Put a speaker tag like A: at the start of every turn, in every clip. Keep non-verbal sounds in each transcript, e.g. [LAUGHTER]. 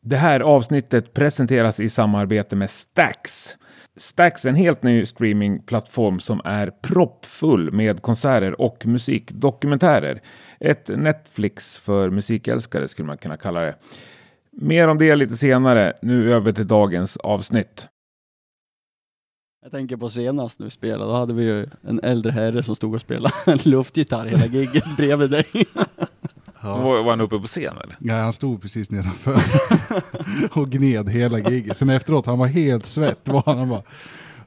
A: Det här avsnittet presenteras i samarbete med Stax. Stax är en helt ny streamingplattform som är proppfull med konserter och musikdokumentärer. Ett Netflix för musikälskare skulle man kunna kalla det. Mer om det lite senare. Nu över till dagens avsnitt.
B: Jag tänker på senast när vi spelade, då hade vi ju en äldre herre som stod och spelade [LAUGHS] en luftgitarr hela [LAUGHS] giget bredvid dig.
C: Ja.
A: Var, var han uppe på scen eller?
C: ja, han stod precis nedanför [LAUGHS] och gned hela giget. Sen efteråt, han var helt svett. Var han, han bara,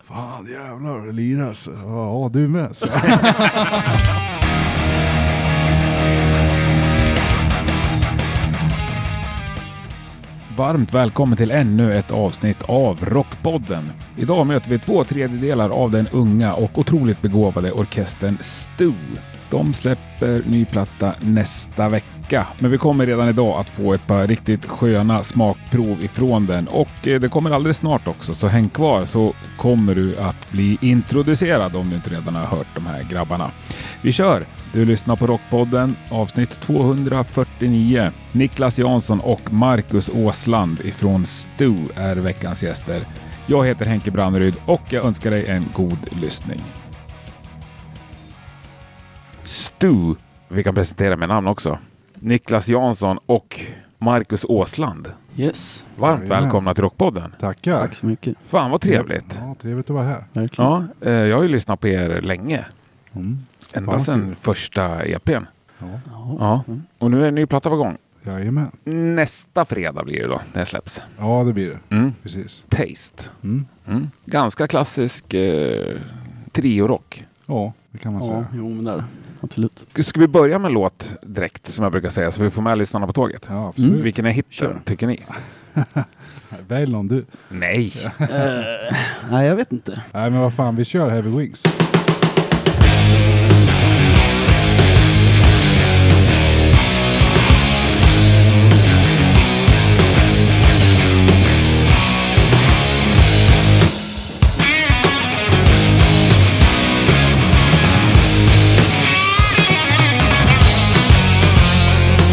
C: fan jävlar, det liras. Ja, ja, du med. Så.
A: Varmt välkommen till ännu ett avsnitt av Rockpodden. Idag möter vi två tredjedelar av den unga och otroligt begåvade orkestern Stu. De släpper ny platta nästa vecka, men vi kommer redan idag att få ett par riktigt sköna smakprov ifrån den och eh, det kommer alldeles snart också, så häng kvar så kommer du att bli introducerad om du inte redan har hört de här grabbarna. Vi kör! Du lyssnar på Rockpodden avsnitt 249. Niklas Jansson och Marcus Åsland ifrån Stu är veckans gäster. Jag heter Henke Branneryd och jag önskar dig en god lyssning. Stu, vi kan presentera med namn också. Niklas Jansson och Marcus Åsland.
B: Yes,
A: Varmt
C: Jajamän.
A: välkomna till Rockpodden.
C: Tackar.
B: tack så mycket.
A: Fan vad trevligt.
C: Ja, trevligt att vara här.
B: Verkligen.
A: Ja, eh, jag har ju lyssnat på er länge.
C: Mm.
A: Ända
C: Fan.
A: sedan första EPn.
C: Ja.
A: Ja. Och nu är en ny platta på gång.
C: Jajamän.
A: Nästa fredag blir det då, när den släpps.
C: Ja, det blir det.
A: Mm.
C: Precis.
A: Taste.
C: Mm.
A: Mm. Ganska klassisk eh, triorock.
C: Ja, det kan man
B: Ja,
A: alltså.
C: säga.
B: jo men där. Absolut.
A: Ska vi börja med en låt direkt, som jag brukar säga, så vi får med lyssnarna på tåget?
C: Ja, Mm. absolut.
A: Vilken är hitten,
B: Kör.
A: tycker ni?
B: Mm.
C: Välj någon du.
A: Nej!
B: Eh, Nej, jag vet inte.
C: Nej, men vad fan, vi kör Heavy Wings.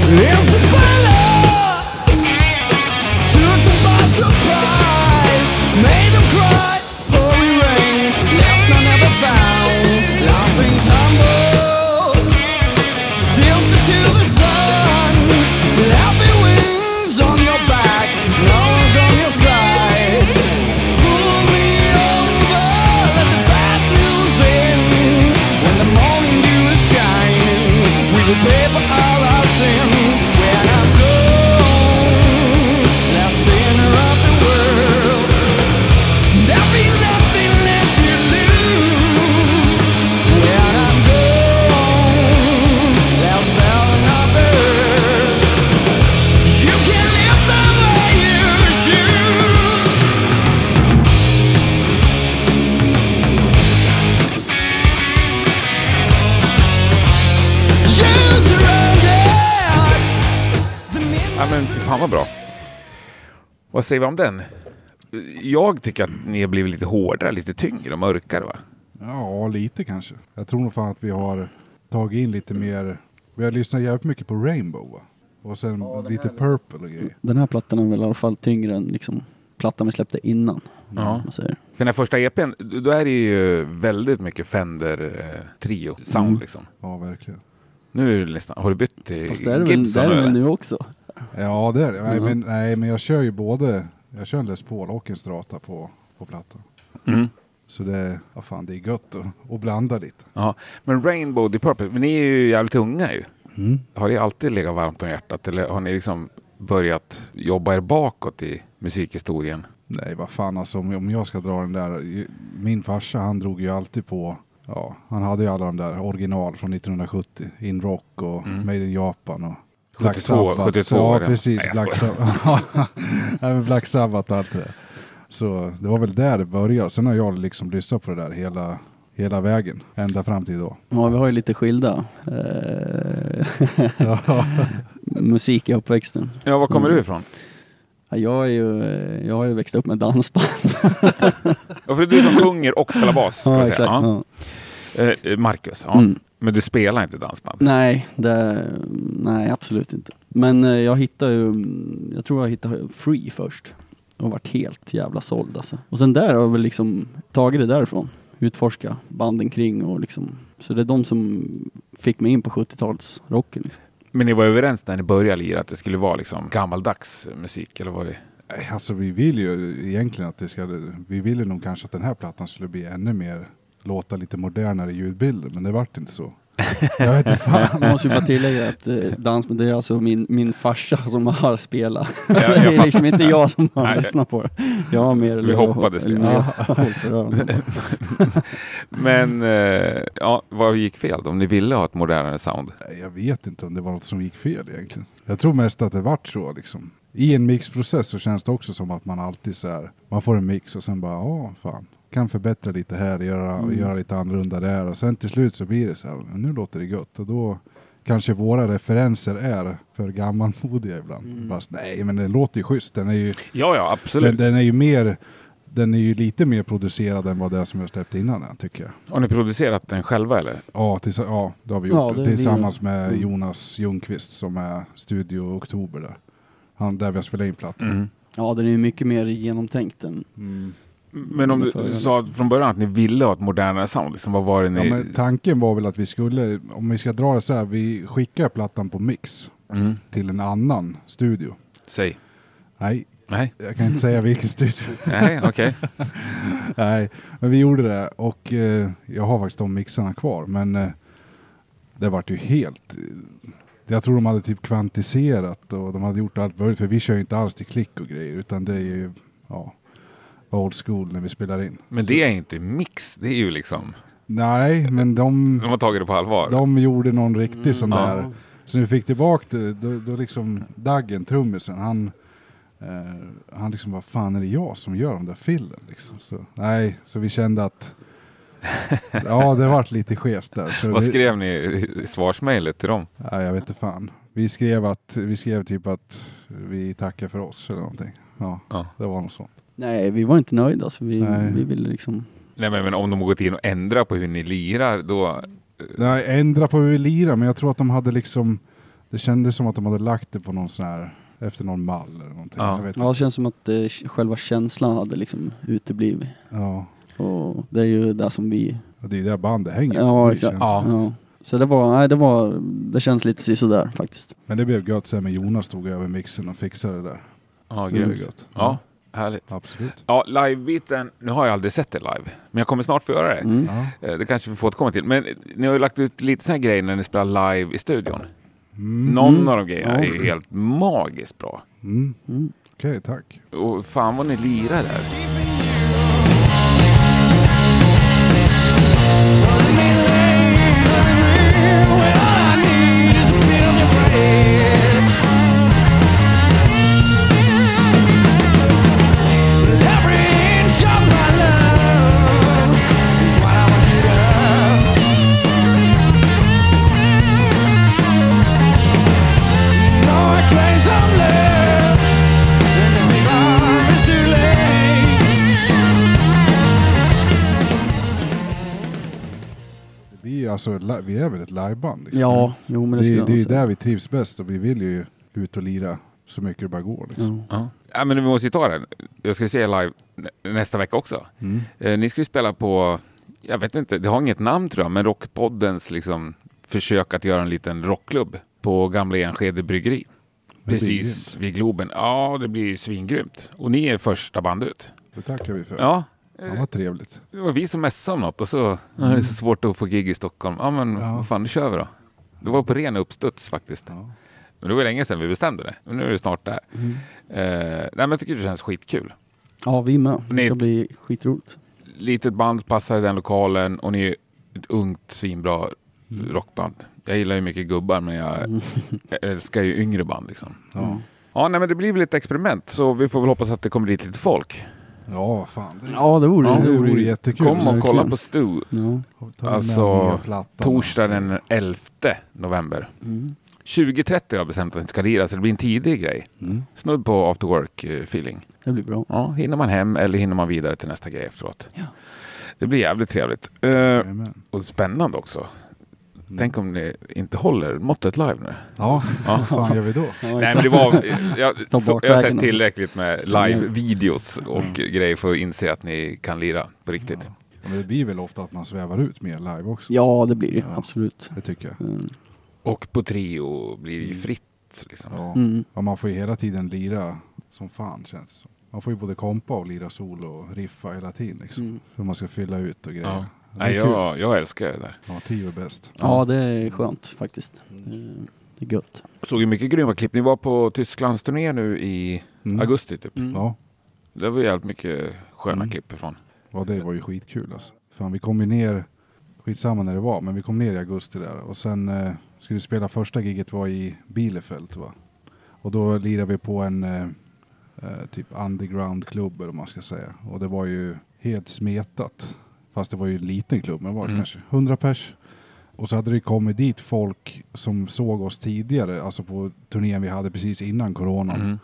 D: It's a bullet Took them by surprise Made them cry Glory rain Left none ever found Laughing tumble Sister to the sun Happy wings on your back No one's on your side Pull me over Let the bad news in When the morning dew is shining We will pay for all our sin When I'm gone Last sinner of the world There'll be nothing left to lose When I'm gone Last felon of the earth You can live the way you choose Choose your own death The midnight
A: ja, men fy fan vad bra. Vad säger vi om den? Jag tycker att ni har blivit lite hårdare, lite tyngre och mörkare va?
C: Ja, lite kanske. Jag tror nog fan att vi har tagit in lite mer. Vi har lyssnat jävligt mycket på Rainbow va? Och sen lite Purple och grejer.
B: Den här plattan är väl i alla fall tyngre än liksom plattan vi släppte innan.
A: Ja.
B: om Man säger.
A: För den här första EPn, då är det ju väldigt mycket Fender-trio-sound
B: Mm.
A: liksom.
C: Ja, verkligen.
A: Nu är det nästan, har du bytt till
B: Fast det är det väl, det
A: Gibson
B: är det väl
A: eller?
B: nu också?
C: Ja, det är det. Nej, men, nej, men jag kör ju både. Jag kör en Les Paul och en Strata på, på plattan.
A: Mm.
C: Så det, ja, fan, det är gött att, att blanda lite.
A: Ja, men Rainbow Deep Purple, men ni är ju jävligt unga ju.
C: Mm.
A: Har det alltid legat varmt om hjärtat eller har ni liksom börjat jobba er bakåt i musikhistorien?
C: Nej, vad fan alltså om, om jag ska dra den där. Min farsa han drog ju alltid på, ja, han hade ju alla de där original från 1970. In Rock och Made in Japan och Black
A: 72,
C: Sabbath.
A: 72 Mm. var
C: ja,
A: det.
C: precis.
A: Nej, jag
C: Black Sabbath. [LAUGHS] Nej, men Black Sabbath och allt det där. Så det var väl där det började. Sen har jag liksom lyssnat på det där hela, hela vägen. Ända fram
A: [LAUGHS]
C: till idag.
B: Ja, vi har ju lite skilda eh, [LAUGHS] musik i uppväxten.
A: Ja, var kommer
B: Mm.
A: du ifrån?
B: Ja, Jag, är ju, eh, jag har ju växt upp med dansband. [LAUGHS]
A: Ja, för det är du som sjunger och spelar bas. Ska jag säga. Ja.
B: Ja.
A: Eh, Marcus, ja.
B: Mm.
A: Men du spelar inte dansband?
B: Nej, det, nej absolut inte. Men eh, jag hittade ju, mm, jag tror jag hittade Free först. Och varit helt jävla såld alltså. Och sen där har jag väl liksom tagit det därifrån. Utforska banden kring och liksom. Så det är de som fick mig in på 70-talsrocken. Liksom.
A: Men ni var överens när ni började lira att det skulle vara liksom gammaldags musik? Eller vad?
C: Nej, Alltså vi vill ju egentligen att det ska, vi ville nog kanske att den här plattan skulle bli ännu mer, låta lite modernare ljudbilder, men det vart inte så. Jag vet inte fan.
A: Mm.
B: Jag måste ju bara tillägga att eh, dans, det är alltså min, min farsa som har spelat.
A: Jag,
B: [LAUGHS] Det är liksom inte jag som
A: Nej.
B: har lyssnat på det. Jag har mer
A: Vi hoppades det.
B: eller mer håll för öronen.
A: Men eh, ja, vad gick fel? Om ni ville ha ett modernare sound?
C: Nej, Jag vet inte om det var något som gick fel egentligen. Jag tror mest att det vart så liksom. I en mixprocess så känns det också som att man alltid så här, man får en mix och sen bara, ja fan, kan förbättra lite här, göra, göra lite annorlunda där och sen till slut så blir det så här, nu låter det gött och då kanske våra referenser är för gammalmodiga ibland. Fast nej, men det låter ju schysst, den är ju,
A: Ja, ja,
C: den,
A: absolut.
C: den är ju mer den är ju lite mer producerad än vad det är som jag släppte innan här, tycker jag.
A: Har ni producerat den själva eller?
C: Ja, tills, ja det har vi
B: Ja,
C: gjort.
B: det är vi
C: Tillsammans med
B: Mm.
C: Jonas Ljungqvist som är Studio Oktober där. Han, där vi har spelat in plattan.
A: Mm.
B: Ja, den är ju mycket mer genomtänkt än
C: Mm.
A: Men om du,
B: Ungefär,
A: du
B: ja,
A: sa från början att ni ville ha ett modernare sound, liksom, vad var det
C: Ja,
A: ni...
C: men tanken var väl att vi skulle, om vi ska dra det så här, vi skickar plattan på mix
A: mm.
C: till en annan studio.
A: Säg.
C: Nej,
A: Nej,
C: jag kan inte säga vilken studio.
A: nej, okej.
C: [LAUGHS] Nej, men vi gjorde det och eh, jag har faktiskt de mixarna kvar. Men eh, det vart ju helt... eh, Jag tror de hade typ kvantiserat och de hade gjort allt möjligt. För vi kör ju inte alls till klick och grejer utan det är ju ja, old school när vi spelar in.
A: Men
C: Så-
A: det är inte mix, det är ju liksom...
C: Nej, men de,
A: De har tagit det på allvar.
C: de gjorde någon riktig sån
A: ja.
C: där. Så när vi fick tillbaka det, då, då liksom Daggen, trummisen, han... Eh, han liksom, vad fan är det jag som gör de där fillen? Liksom. Så, nej, så vi
A: [LAUGHS]
C: kände att... Ja, det vart lite skevt där. Så
A: Vad
C: vi-
A: skrev ni i- i svarsmejlet till dem?
C: Nej, jag vet inte fan. Vi skrev, att, vi skrev typ att vi tackar för oss eller någonting. Ja,
A: Ja.
C: det var något sånt.
B: Nej, vi var inte nöjda så vi,
C: Nej.
B: vi ville liksom...
A: Nej, men, men om de har gått in och ändrat på hur ni lirar, då... Eh.
C: Nej, ändra på hur vi lirar, men jag tror att de hade liksom... Det kändes som att de hade lagt det på någon sån här... Efter någon mall eller någonting.
A: Ja.
C: Jag vet
B: Ja, det
C: inte.
B: känns som att eh, själva känslan hade liksom uteblivit.
C: Ja.
B: Och det är ju det som vi...
C: Och Det är ju där bandet hänger.
B: Ja,
C: Det
B: exakt.
C: känns-
A: Ja.
B: Ja. Så det var, nej det var, det känns lite sådär faktiskt.
C: Men det blev gött sen när Jonas tog över mixen och fixade det där.
A: Ja,
C: Mm. Det blev
A: grymt.
C: gött.
A: Ja, härligt.
C: Absolut.
A: Ja, live-biten, nu har jag aldrig sett det live, men jag kommer snart få göra det.
B: Mm.
C: Ja.
A: Eh, Det kanske vi får återkomma till. Men eh, ni har ju lagt ut lite sådana grejer när ni spelar live i studion. Någon
B: Mm.
A: av de grejerna
B: Ja.
A: är ju helt magiskt bra.
C: Mm.
B: Mm.
C: Okej, tack.
A: Och fan vad ni lirar där.
D: Some love, and the big arm is too late.
C: Det blir ju alltså, li- vi är väl ett liveband? Liksom.
B: Ja, jo men
C: det,
B: det skulle
C: är-
B: jag
C: det är
B: nog
C: ju
B: säga.
C: där vi trivs bäst och vi vill ju ut och lira så mycket det bara går. Liksom.
B: Ja.
A: Ja. ja, men vi måste ju ta den. Jag ska ju se er live nä- nästa vecka också. Eh, ni ska ju spela på, jag vet inte, det har inget namn tror jag, men Rockpoddens liksom, försök att göra en liten rockklubb på Gamla Enskede Bryggeri.
C: blir
A: Precis vid Globen. Ja, det blir ju svingrymt. Och ni är första band ut.
C: Det tackar vi för.
A: Ja,
C: Ja, vad trevligt.
A: det var vi som messade om något och så ja, det är så svårt att få gig i Stockholm. Ja, men
C: Ja.
A: vad fan, nu kör vi då. Det var på ren uppstuds faktiskt.
C: Ja.
A: Men det var länge sedan vi bestämde det. Men nu är det snart där. Eh, nej, men jag tycker det känns skitkul.
B: ja, vi med. Det ska
A: Nej.
B: bli skitroligt.
A: litet band passar i den lokalen och ni är ett ungt svinbra
C: Mm.
A: rockband. Jag gillar ju mycket gubbar men jag [LAUGHS] älskar ju yngre band liksom.
C: Ja,
A: Ja, nej, men det blir väl ett experiment så vi får väl hoppas att det kommer dit lite folk.
C: ja vad fan. Det,
B: Ja, det vore
A: Ja,
C: det vore
B: ja.
C: jättekul.
A: Kom och kolla
B: kul.
A: på Stu
B: ja.
C: Ta med
A: Alltså,
C: nya plattan.
A: torsdag den 11 november.
B: Mm.
A: 20.30 har jag bestämt att det inte ska lira så det blir en tidig grej.
C: Mm.
A: Snudd på after work eh, feeling.
B: Det blir bra.
A: Ja, hinner man hem eller hinner man vidare till nästa grej efteråt.
B: Ja.
C: Mm.
A: Det blir jävligt trevligt. Eh,
C: Jajamän.
A: Och spännande också.
C: Mm.
A: Tänk om det inte håller måttet live nu.
C: Ja,
A: Ja.
C: vad fan gör vi då?
B: Ja,
A: Nej,
B: exakt.
A: men det
C: [LAUGHS]
A: var, jag,
B: Ta
A: så,
B: bort
A: jag har
B: vägen
A: sett
B: då.
A: tillräckligt med
B: Spela in.
A: live-videos och grejer för att inse att ni kan lira på riktigt.
C: Mm. Ja, Men det blir väl ofta att man svävar ut mer live också.
B: ja, det blir det ju,
C: Ja.
B: absolut.
C: Det tycker jag.
B: Mm.
A: Och på trio blir det ju fritt. Liksom.
C: Mm. Ja.
B: Mm.
C: Ja, man får ju hela tiden lira som fan känns det som. Man får ju både kompa och lira solo och riffa hela tiden liksom.
B: Mm.
C: Hur man ska fylla ut och grejer.
A: Ja.
C: Det är
A: Nej,
C: kul.
A: jag, jag älskar det där.
C: Ja, Mm. tio är bäst.
B: Ja, det är skönt faktiskt. Eh, Det är gött.
A: Såg ju mycket grymma klipp. Ni var på Tysklands turné nu i
C: Mm. Mm.
A: augusti typ.
C: Ja.
A: Det var jävligt mycket sköna klipp ifrån.
C: ja, det var ju skitkul alltså. Fan, vi kom ju ner, skitsamma när det var, men vi kom ner i augusti där och sen eh, skulle vi spela första giget var i Bielefeld va. Och då lirade vi på en eh, eh, typ underground-klubb eller vad man ska säga. Och det var ju helt smetat. Fast det var ju en liten klubb, men det var
A: Mm.
C: kanske 100 pers. Och så hade det kommit dit folk som såg oss tidigare, alltså på turnén vi hade precis innan coronan.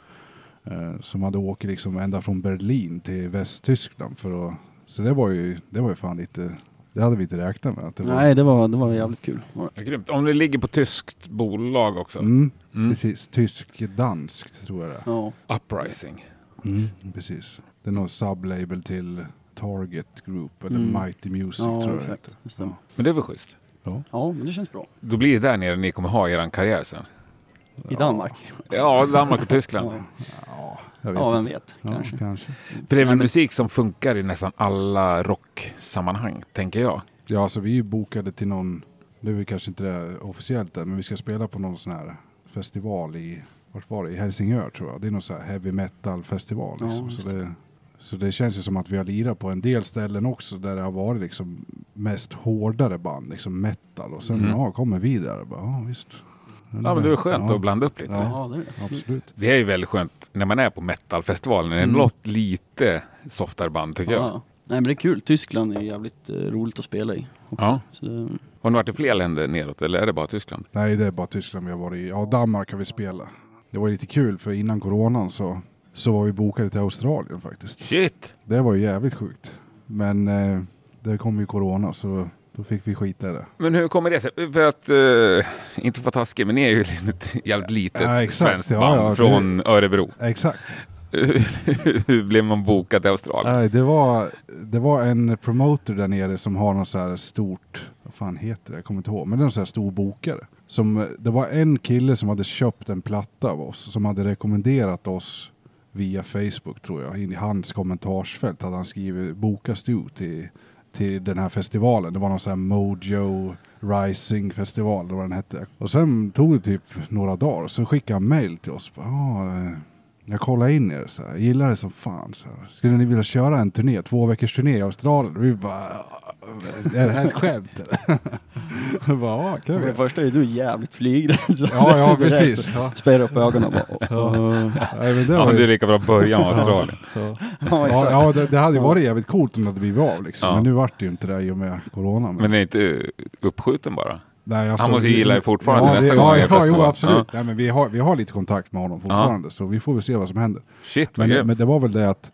A: Mm.
C: Eh, som hade åkt liksom ända från Berlin till Västtyskland. För att, så det var, ju, det var ju fan lite... Det hade vi inte räknat med. Att det
B: Nej, det var, det var jävligt kul.
A: Ja, grymt. Om det ligger på tyskt bolag också.
C: Var, mm,
A: Mm.
C: Precis. Tysk-danskt tror jag det är.
B: Ja.
A: Uprising.
C: Mm, precis. Det är någon sublabel till Target Group eller
B: Mm.
C: Mighty Music
B: Ja,
C: tror jag det
B: exakt. Det stämmer.
A: Men det är väl schysst?
C: Ja.
B: Ja, men det känns bra.
A: Då blir det där nere ni kommer ha er karriär sen.
B: I Danmark?
A: Ja, Danmark och Tyskland.
B: Ja,
C: ja, jag vet
B: ja vem
C: inte.
B: vet.
C: Ja,
B: Kanske.
C: kanske.
A: För det är
B: Nej,
A: väl
B: men-
A: musik som funkar i nästan alla rocksammanhang, tänker jag.
C: Ja, så vi är ju bokade till någon... Nu är vi kanske inte det officiellt än, men vi ska spela på någon sån här festival i... Vart var det? I Helsingör tror jag. Det är någon sån här heavy metal festival.
B: Ja,
C: Liksom.
B: just
C: så, det, så det känns ju som att vi har lirat på en del ställen också där det har varit liksom mest hårdare band, liksom metal. Och sen
A: Mm.
C: ja, kommer vi där och bara, ja visst.
A: Ja, men det är väl skönt
C: Ja,
A: att blanda upp lite.
C: Ja.
B: Ja, det är det.
C: Absolut.
A: Det är ju väldigt skönt när man är på metalfestivalen. Det är
C: Mm.
A: något lite softare band, tycker jag.
B: Ja. Nej men det är kul. Tyskland är jävligt eh, roligt att spela i. Också.
A: Ja.
B: Så det,
A: Har ni varit i fler länder neråt, eller är det bara Tyskland?
C: Nej, det är bara Tyskland vi har varit i. Ja, Danmark har vi spelat. Det var ju lite kul för innan coronan så, så var vi bokade till Australien faktiskt.
A: Shit!
C: Det var ju jävligt sjukt. Men eh, det kom ju corona så då, då fick vi skita i det.
A: Men hur kommer det sig? För att, eh, inte för att vara taskig, men ni är ju [LAUGHS] liksom ett jävligt litet
C: Ja, exakt.
A: svenskt
C: Ja,
A: band
C: ja, det-
A: från Örebro. [LAUGHS]
C: Exakt.
A: hur blev man bokad i Australien?
C: Nej, det, var, det var en promoter där nere som har något så här stort, vad fan heter det, jag kommer inte ihåg, men det är någon så här stor bokare. Som, det var en kille som hade köpt en platta av oss, som hade rekommenderat oss via Facebook tror jag. In I hans kommentarsfält hade han skrivit bokas du till, till den här festivalen. Det var någon sån här Mojo Rising festival eller vad den hette. Och sen tog det typ några dagar så skickade han mail till oss. Bara, "Ja, eh, jag kollade in er så här. Jag gillar det som fan. Så här. Skulle ni vilja köra en turné, två veckors turné i Australien? Vi bara, "Äh, är det här ett skämt eller? [LAUGHS] Jag bara, ja, kan
B: för
C: vi.
B: det första är du jävligt flygrädd. så
C: Ja,
B: [LAUGHS]
C: [LAUGHS] ja,
B: det är
C: precis.
B: därför.
C: Ja.
B: Spärra upp ögonen och bara.
C: Nej, men det
A: Ja,
C: var
A: men
C: ju-
A: det är lika bra att börja
C: [LAUGHS]
A: med Australien.
B: [LAUGHS] Ja,
C: Ja,
B: exakt.
C: ja det, det hade ju varit jävligt coolt om det hade blivit av liksom.
A: Ja.
C: Men nu vart det ju inte det i och med corona.
A: Men det är inte uppskjuten bara.
C: nej, alltså,
A: han måste ju gilla er fortfarande
C: ja,
A: nästa
C: det,
A: gång
C: Ja,
A: jag
C: ja
A: testar
C: jo,
A: va?
C: absolut.
A: Ja.
C: Nej, men vi, har, vi har lite kontakt med honom fortfarande så vi får väl se vad som händer.
A: Shit, vad
C: Men,
A: grymt.
C: men det var väl det att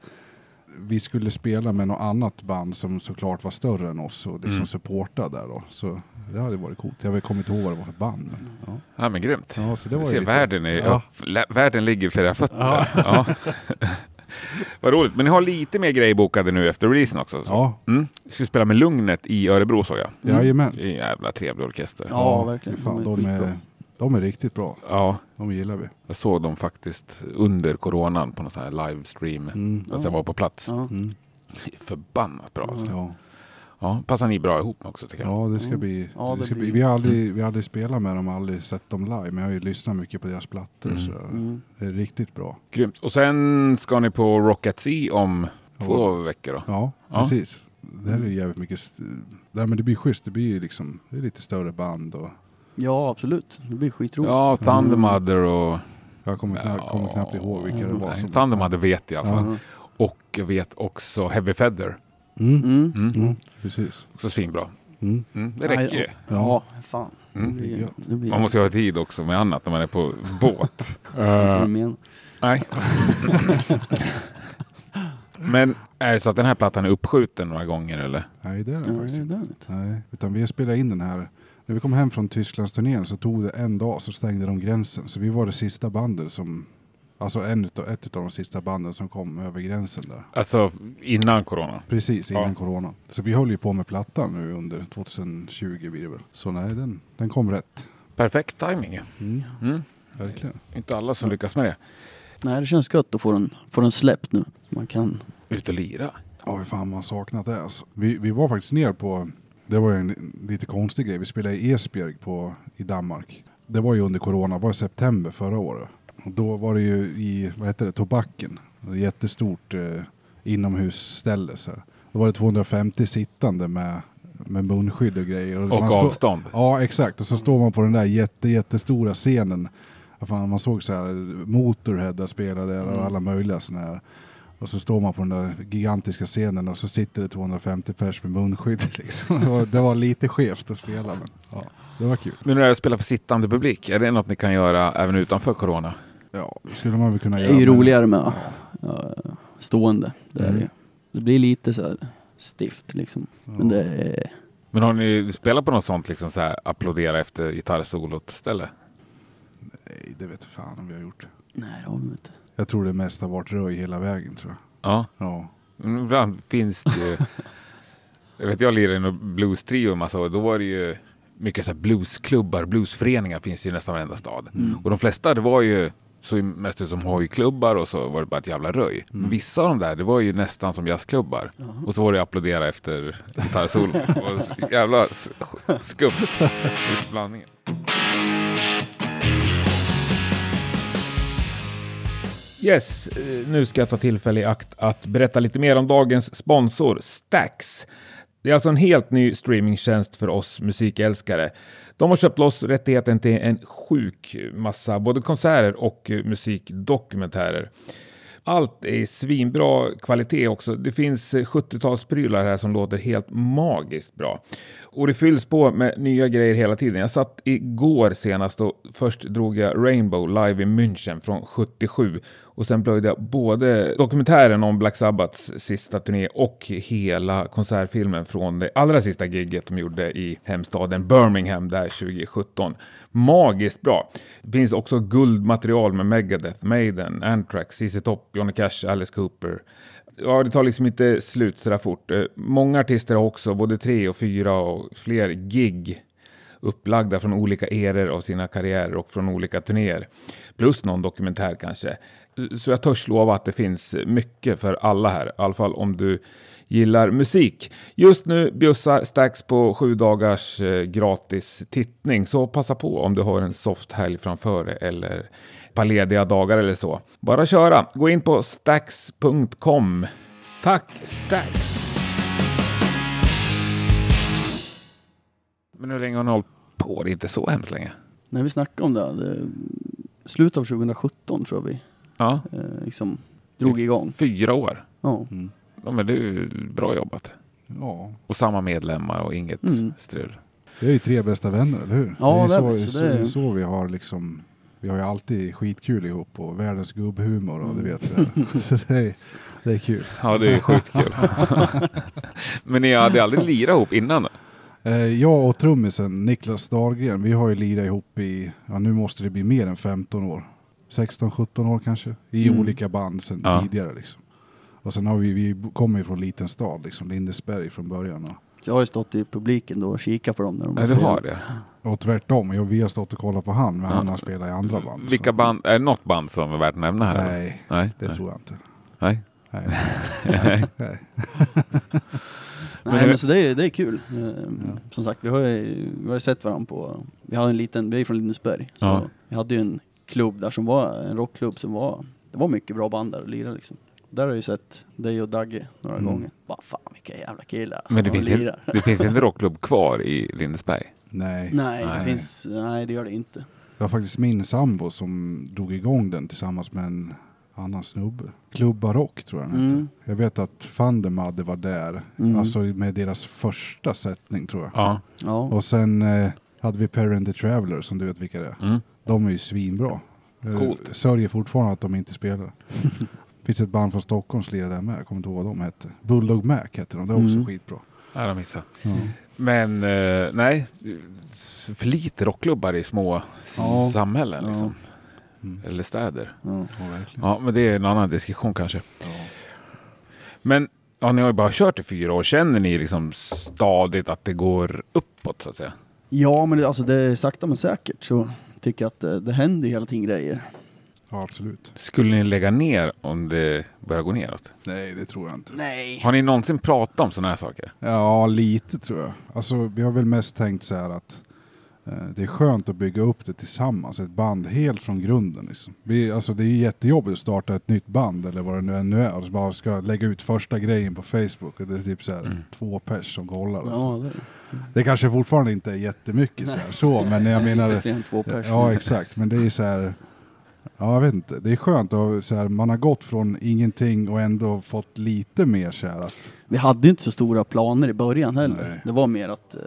C: vi skulle spela med något annat band som såklart var större än oss och liksom
A: Mm.
C: supporta där då. Så det hade varit coolt. Jag kommer inte ihåg vad det var för band. Men, ja.
A: Ja, men grymt.
C: Ja, så det
A: Du
C: var ju
A: ser,
C: lite-
A: världen, är,
C: Ja.
A: upp, lä- världen ligger för era fötter. Ja. [LAUGHS] Vad roligt. Men ni har lite mer grejer bokade nu efter releasen också. Så.
C: Ja,
A: Mm. Vi ska spela med Lugnet i Örebro såg jag.
C: jajamän.
A: Det är en jävla trevlig orkester. Ja.
B: Ja, verkligen.
C: Fan, de, är,
B: skitbra.
C: de är riktigt bra. De gillar vi.
A: jag såg dem faktiskt under coronan på någon sån här livestream.
C: Mm.
A: Alltså jag var på plats.
B: Ja.
C: Mm.
A: Förbannat bra alltså.
C: Ja.
A: Ja, passar ni bra ihop också tycker jag.
C: Ja, det ska bli...
B: Ja,
C: det
B: det
C: ska bli.
B: blir-
C: Vi, har aldrig, vi har aldrig spelat med dem, aldrig sett dem live, men jag har ju lyssnat mycket på deras plattor. Så
B: Mm.
C: det är riktigt bra.
A: Grymt. Och sen ska ni på Rock at Sea om
C: Ja.
A: två veckor då.
C: Ja,
A: Ja.
C: precis. Det här är jävligt mycket... St- Nej, men det blir schysst. Det blir ju liksom... Det är lite större band och...
B: ja, absolut. Det blir skitroligt.
A: Ja, Thunder
C: Mm.
A: Mother och...
C: Jag kommer, knappt-
A: Ja.
C: kommer knappt ihåg vilka det var
A: Nej,
C: som...
A: Thunder Mother vet jag i alla fall.
B: Ja.
A: Och jag vet också Heavy Feather.
C: Mm.
B: Mm.
A: Mm.
C: Mm. Precis.
A: Också svinbra.
C: Mm.
A: Mm, det räcker ju.
B: Ja, ja, fan. Det blir,
C: gött.
B: det blir,
A: Man måste ju ha tid också med annat när man är
C: [LAUGHS]
A: på båt.
B: jag
A: Eh,
B: menar.
A: nej. [LAUGHS] Men är det så att den här plattan är uppskjuten några gånger eller?
C: Nej, det är det
B: Ja, det
C: faktiskt
B: är
C: inte.
B: därligt.
C: Nej, utan vi har spelat in den här När vi kom hem från Tysklandsturnén så tog det en dag så stängde de gränsen. Så vi var det sista bandet som, alltså en utav, ett av de sista banden som kom över gränsen där.
A: Alltså innan corona.
C: Precis innan
A: Ja.
C: corona. Så vi höll ju på med plattan nu under 2020 blir det väl. Så nej, den, den kom rätt.
A: Perfekt timing. ju.
C: Mm,
A: Mm.
C: verkligen.
A: Inte alla som lyckas med det.
B: Nej, det känns gött att få den, få den släppt nu. Så man kan...
A: Ut och lira.
C: Ja, hur fan man saknat det alltså. Vi, vi var faktiskt ner på, det var ju en lite konstig grej, vi spelade i Esbjerg på, i Danmark. Det var ju under corona, det var i september förra året. Och då var det ju i, vad heter det, Tobacken. Ett jättestort eh, inomhusställe så här. Då var det 250 sittande med, med munskydd och grejer.
A: Och
C: man stå-
A: avstånd.
C: Ja, exakt. Och så står man på den där jätte, jättestora scenen. Ja, Fan, man såg så här Motorhead där spelade där
B: Mm.
C: och alla möjliga sådana här. Och så står man på den där gigantiska scenen och så sitter det 250 pers med munskydd. [LAUGHS] Liksom. Det, var, det var lite skevt att spela, men ja, det var kul.
A: Nu när jag spelar för sittande publik, är det något ni kan göra även utanför corona?
C: Ja, det skulle man väl kunna
B: Det
C: göra.
B: är ju
C: men-
B: roligare med ja, stående. Det, är
A: Mm.
B: det. det blir lite så här stift liksom. Men det är...
A: Men har ni spelat på något sånt, liksom så här, applådera efter gitarrsolot ställe?
C: Nej, det vet fan om vi har gjort.
B: Nej, det har vi inte.
C: Jag tror det mest har varit röj hela vägen, tror jag.
A: Ja,
C: Ja,
A: men Mm, ibland finns det ju... Jag vet, jag lirade i någon blues-trio en massa år. Då var det ju mycket så här bluesklubbar, bluesföreningar finns ju i nästan varenda stad. Och de flesta, det var ju så mest ut som hojklubbar och så var det bara ett jävla röj. Men Vissa av de där, det var ju nästan som jazzklubbar. Och så var det applådera efter gitarrsolo. Det var så jävla s- skumt. Just blandningen. Yes, eh, nu ska jag ta tillfälle i akt att berätta lite mer om dagens sponsor, Stax. Det är alltså en helt ny streamingtjänst för oss musikälskare. De har köpt loss rättigheten till en sjuk massa både konserter och eh, musikdokumentärer. Allt är i svinbra kvalitet också. Det finns eh, 70-talsprylar här som låter helt magiskt bra. Och det fylls på med nya grejer hela tiden. Jag satt igår senast och först drog jag Rainbow live i München från 77. Och sen plöjde jag både dokumentären om Black Sabbaths sista turné och hela konsertfilmen från det allra sista gigget de gjorde i hemstaden Birmingham där 2017. Magiskt bra. Det finns också guldmaterial med Megadeth, Maiden, Anthrax, ZZ Top, Johnny Cash, Alice Cooper. Ja, det tar liksom inte slut sådär fort. Eh, Många artister har också både tre och fyra och fler gig upplagda från olika eror av sina karriärer och från olika turnéer. Plus någon dokumentär kanske. Så jag törs lova att det finns mycket för alla här, i alla fall om du gillar musik. Just nu bjussar Stax på sju dagars eh, gratis tittning, så passa på om du har en soft helg framför dig eller ett par lediga dagar eller så. Bara köra! Gå in på stax.com. Tack Stax! Men hur länge har ni hållit på? Det är inte så hemskt länge.
B: När vi snackade om det, här, det slutet av 2017 tror jag vi
A: Ja,
B: eh, liksom drog igång.
A: fyra år.
B: Ja.
A: Ja, men det är ju bra jobbat.
C: Mm. ja.
A: Och samma medlemmar och inget strul.
C: Vi är ju tre bästa vänner, eller hur?
B: Ja,
C: det
B: det
C: är
B: är
C: ju
B: vi,
C: så,
B: så
C: så,
B: det är-
C: så vi har liksom... Vi har ju alltid skitkul ihop och världens gubbhumor och du vet det. Så det, är, det är kul.
A: Ja, det är sjukt [LAUGHS] kul. men ni hade aldrig lirat ihop innan? då?
C: Eh, Jag och trummisen Niklas Dahlgren, vi har ju lirat ihop i, ja nu måste det bli mer än 15 år. 16-17 år kanske. I olika band sedan
A: Ja.
C: tidigare liksom. Och sen har vi, vi kommer ju från en liten stad liksom, Lindesberg från början. Och,
B: Jag har ju stått i publiken då och kikat på dem när de
A: Nej, du
B: spelat.
A: har det.
C: och tvärtom, jag, vi har stått och kollat på han, men han har spelat i andra band. så-
A: Vilka band, är det något band som är värt att nämna här? då?
C: Nej,
A: Nej.
C: det
A: Nej.
C: tror jag inte.
A: Nej.
C: Nej. Nej.
B: Nej, men så det är, det är kul. Ehm, Som sagt, vi har ju vi har ju sett varandra på... Vi hade en liten... Vi är ju från Lindesberg. Så
A: Ja.
B: vi hade ju en klubb där som var en rockklubb som var... Det var mycket bra band där och lirade liksom. Där har jag ju sett dig och Dagge några gånger. Bara fan vilka jävla killar
A: [LAUGHS] Men det
B: som
A: finns,
B: lirar.
A: en, det finns en rockklubb kvar i Lindesberg.
C: Nej.
B: [LAUGHS] Nej, det finns... Nej, det gör det inte.
C: Det var faktiskt min sambo som drog igång den tillsammans med en annan snubbe. Klubba Rock tror jag den hette.
B: Mm.
C: Jag vet att Fandemade var där, alltså med deras första sättning tror jag.
A: Ja.
B: Ja.
C: Och sen eh, hade vi Perry and the Traveller som du vet vilka det är.
A: Mm.
C: De är ju svinbra. Jag
A: Coolt.
C: Sörjer fortfarande att de
B: [LAUGHS]
C: inte spelar. finns ett band från
B: Mm.
C: Stockholm som lirar där med, jag kommer inte ihåg vad de hette. Bulldog Mac hette de, det är också skitbra.
A: Ja, de missade. Men eh, nej, för lite rockklubbar i små
B: Ja.
A: samhällen
B: Ja.
A: liksom.
C: Mm.
A: Eller städer.
B: Ja.
C: Ja, verkligen.
A: Ja, men det är en annan diskussion kanske.
C: Ja.
A: Men ja, ni har ju bara kört i fyra år. Känner ni liksom stadigt att det går uppåt så att säga?
B: Ja, men det, alltså det är sakta men säkert så tycker jag att eh, det, det händer ju hela tiden grejer.
C: ja, absolut.
A: Skulle ni lägga ner om det börjar gå neråt?
C: Nej, det tror jag inte.
B: Nej.
A: Har ni någonsin pratat om sådana här saker?
C: Ja, lite tror jag. Alltså, vi har väl mest tänkt så här att eh, det är skönt att bygga upp det tillsammans, ett band helt från grunden. Liksom. Vi, alltså, det är ju jättejobbigt att starta ett nytt band eller vad det nu än nu är. Och så bara ska lägga ut första grejen på Facebook och det är typ så här två pers som kollar. Alltså.
B: Ja, det,
C: Det kanske fortfarande inte är jättemycket så, här, så men jag
B: det är
C: menar...
B: fler än två personer.
C: Ja, exakt. Men det är så här... Ja, jag vet inte. Det är skönt att så här, man har gått från ingenting och ändå fått lite mer så här att...
B: Vi hade ju inte så stora planer i början heller.
C: Nej.
B: Det var mer att eh,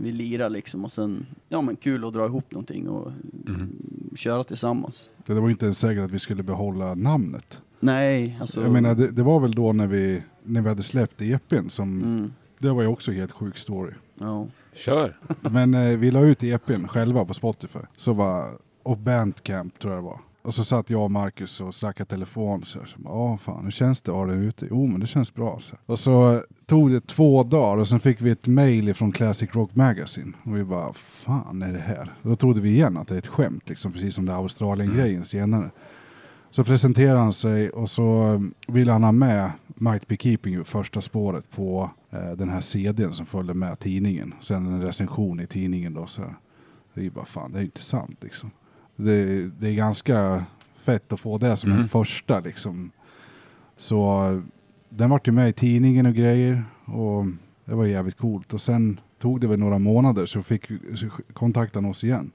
B: vi lirade liksom och sen, ja men kul att dra ihop någonting och
C: Mhm.
B: mm, köra tillsammans.
C: Det var ju inte ens säkert att vi skulle behålla namnet.
B: Nej, alltså.
C: Jag menar, det, det var väl då när vi, när vi hade släppt EPn som...
B: Mm,
C: Det var ju också en helt sjuk story.
B: ja.
A: Kör!
C: Men eh, vi la ut EPn själva på Spotify. Så var, och Bandcamp tror jag det var. Och så satt jag och Marcus och snackade telefon. Så jag bara, "Ah, fan hur känns det att ha den ute? Jo men det känns bra. Så. Och så tog det två dagar och sen fick vi ett mail från Classic Rock Magazine. Och vi bara, fan är det här? Då trodde vi igen att det är ett skämt, liksom, precis som det här Australien-grejen senare. Så presenterade han sig och så eh, ville han ha med Might Be Keeping You, första spåret på eh, den här CDn som följde med tidningen. Sen en recension i tidningen då så här. Det är ju bara fan, det är ju inte sant liksom. Det, det är ganska fett att få det som
A: Mm.
C: en första liksom. Så eh, den vart ju med i tidningen och grejer och det var jävligt coolt. Och sen tog det väl några månader så fick så kontaktade han oss igen.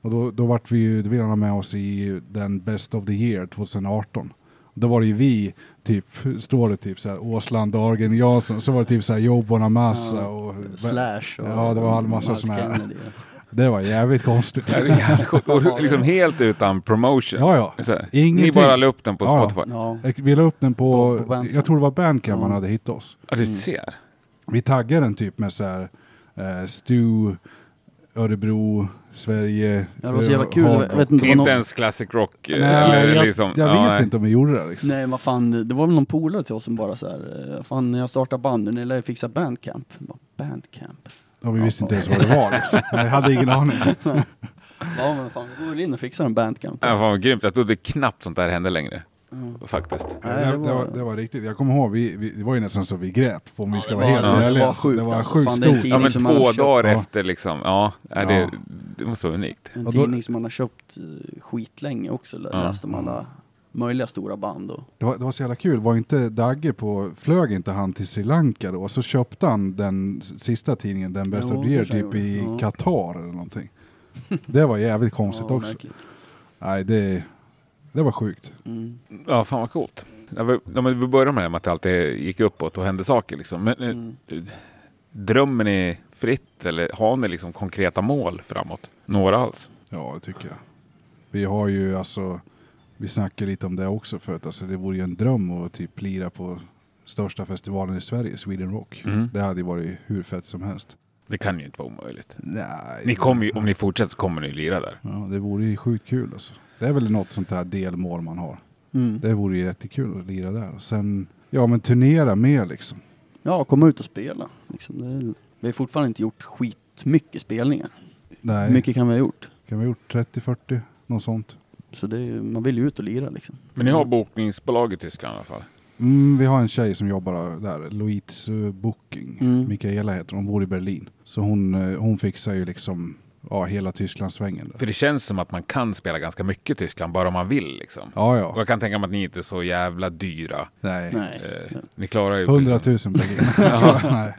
C: Och då, då vart vi ju, då ville han ha med oss i den Best of the Year 2018. Då var det ju vi, typ, står det typ såhär Åsland, Dagen, Jansson, så var det typ såhär Joe Bonamassa
B: Ja,
C: och...
B: Slash och
C: Ja, det var en massa
B: Miles
C: såna här.
B: Kennedy.
C: Det var jävligt konstigt.
A: Det är jävligt sjukt. Och du- liksom helt utan promotion.
C: Ja, ja.
A: Så här,
C: Ingenting.
A: Ni bara la upp den på
C: Ja, ja.
A: Spotify.
C: [LAUGHS]
B: Ja.
C: Vi la upp den på,
B: På- på Bandcamp.
C: jag tror det var Bandcamp han
B: Ja.
C: hade hittat oss.
A: Ja, du ser.
C: Vi taggade den typ med såhär eh, Stu, Örebro, Sverige.
B: Ja, det var så jävla
C: eh,
B: kul.
C: Hardrock.
B: Jag vet inte, det var
A: Inte
B: någon,
A: ens classic rock. eh,
C: Nej,
A: eller
C: jag,
A: liksom,
C: jag vet
A: ja, nej.
C: inte om vi gjorde det liksom.
B: Nej, vad fan, det var väl någon polare till oss som bara så här, eh, fan när jag startar band, ni lär ju fixa bandcamp. Jag bara, Bandcamp?
C: Och vi visste inte ens vad det
B: [LAUGHS]
C: var liksom. Jag hade ingen aning.
B: Ja men fan, vi går väl in och fixar en bandcamp.
A: Ja, fan vad grymt. Jag trodde knappt sånt där hände längre.
B: Mm.
A: Faktiskt.
C: Nej, det, det, var, det var riktigt. Jag kommer ihåg, vi, vi, det var ju nästan så vi grät om vi ska
B: det
C: vara
B: var-
C: helt
B: ja, det
C: ärliga.
B: var
C: Alltså, Det
B: sjukt,
C: var
B: alltså.
C: sjukt
B: Fan, det är
C: stort.
A: Ja,
B: tidning
A: men
B: som man har
A: två
B: köpt.
A: dagar
C: Ja.
A: efter liksom. Ja, nej, det,
C: Ja.
A: det måste vara unikt.
B: En
C: Och då-
B: tidning som man har köpt eh, skitlänge också, eller
A: Ja.
B: läst om alla möjliga stora band och...
C: Det var, det var så jävla kul. Var inte Dagge på, flög inte han till Sri Lanka då? Och så köpte han den sista tidningen, den Best
B: Jo,
C: of the Year,
B: kanske han
C: typ i
B: gjorde. Ja.
C: Qatar eller någonting. Det var jävligt konstigt
B: Ja,
C: också.
B: verkligen.
C: Nej, det, det var sjukt.
B: Mm.
A: Ja, fan vad coolt. Ja, vi, ja, men vi började med det här med att det alltid gick uppåt och hände saker. Liksom. Men, eh,
B: Mm.
A: Drömmer ni fritt eller har ni liksom konkreta mål framåt? Några alls?
C: Ja, det tycker jag. Vi har ju alltså, vi snackade lite om det också förut, alltså det vore ju en dröm att typ lira på största festivalen i Sverige, Sweden Rock.
A: Mm.
C: Det hade ju varit hur fett som helst.
A: Det kan ju inte vara omöjligt.
C: Nej,
A: Ni kommer ju, om ni fortsätter så kommer ni lira där.
C: ja, det vore ju sjukt kul alltså. Det är väl något sånt här delmål man har.
B: Mm.
C: Det vore ju jättekul att lira där. Och sen, ja men turnera mer liksom.
B: Ja, komma ut och spela. Liksom, det är... Vi har fortfarande inte gjort skitmycket spelningar.
C: Nej,
B: Hur mycket kan vi ha gjort?
C: kan vi ha gjort 30-40? Något sånt.
B: Så det är, ju- man vill ju ut och lira liksom.
A: Men ni har bokningsbolag i Tyskland i alla fall?
C: Mm, vi har en tjej som jobbar där, Louise eh, Booking.
B: Mm.
C: Mikaela heter hon, bor i Berlin. Så hon, eh, hon fixar ju liksom ja, hela Tysklandssvängen. Där.
A: För det känns som att man kan spela ganska mycket i Tyskland bara om man vill. Liksom.
C: Ja,
A: Och
C: ja.
A: jag kan tänka mig att ni inte är så jävla dyra.
C: Nej.
B: Nej.
A: Eh, ni klarar ju...
C: 100 000
B: [LAUGHS]
C: Berlin. Så, nej.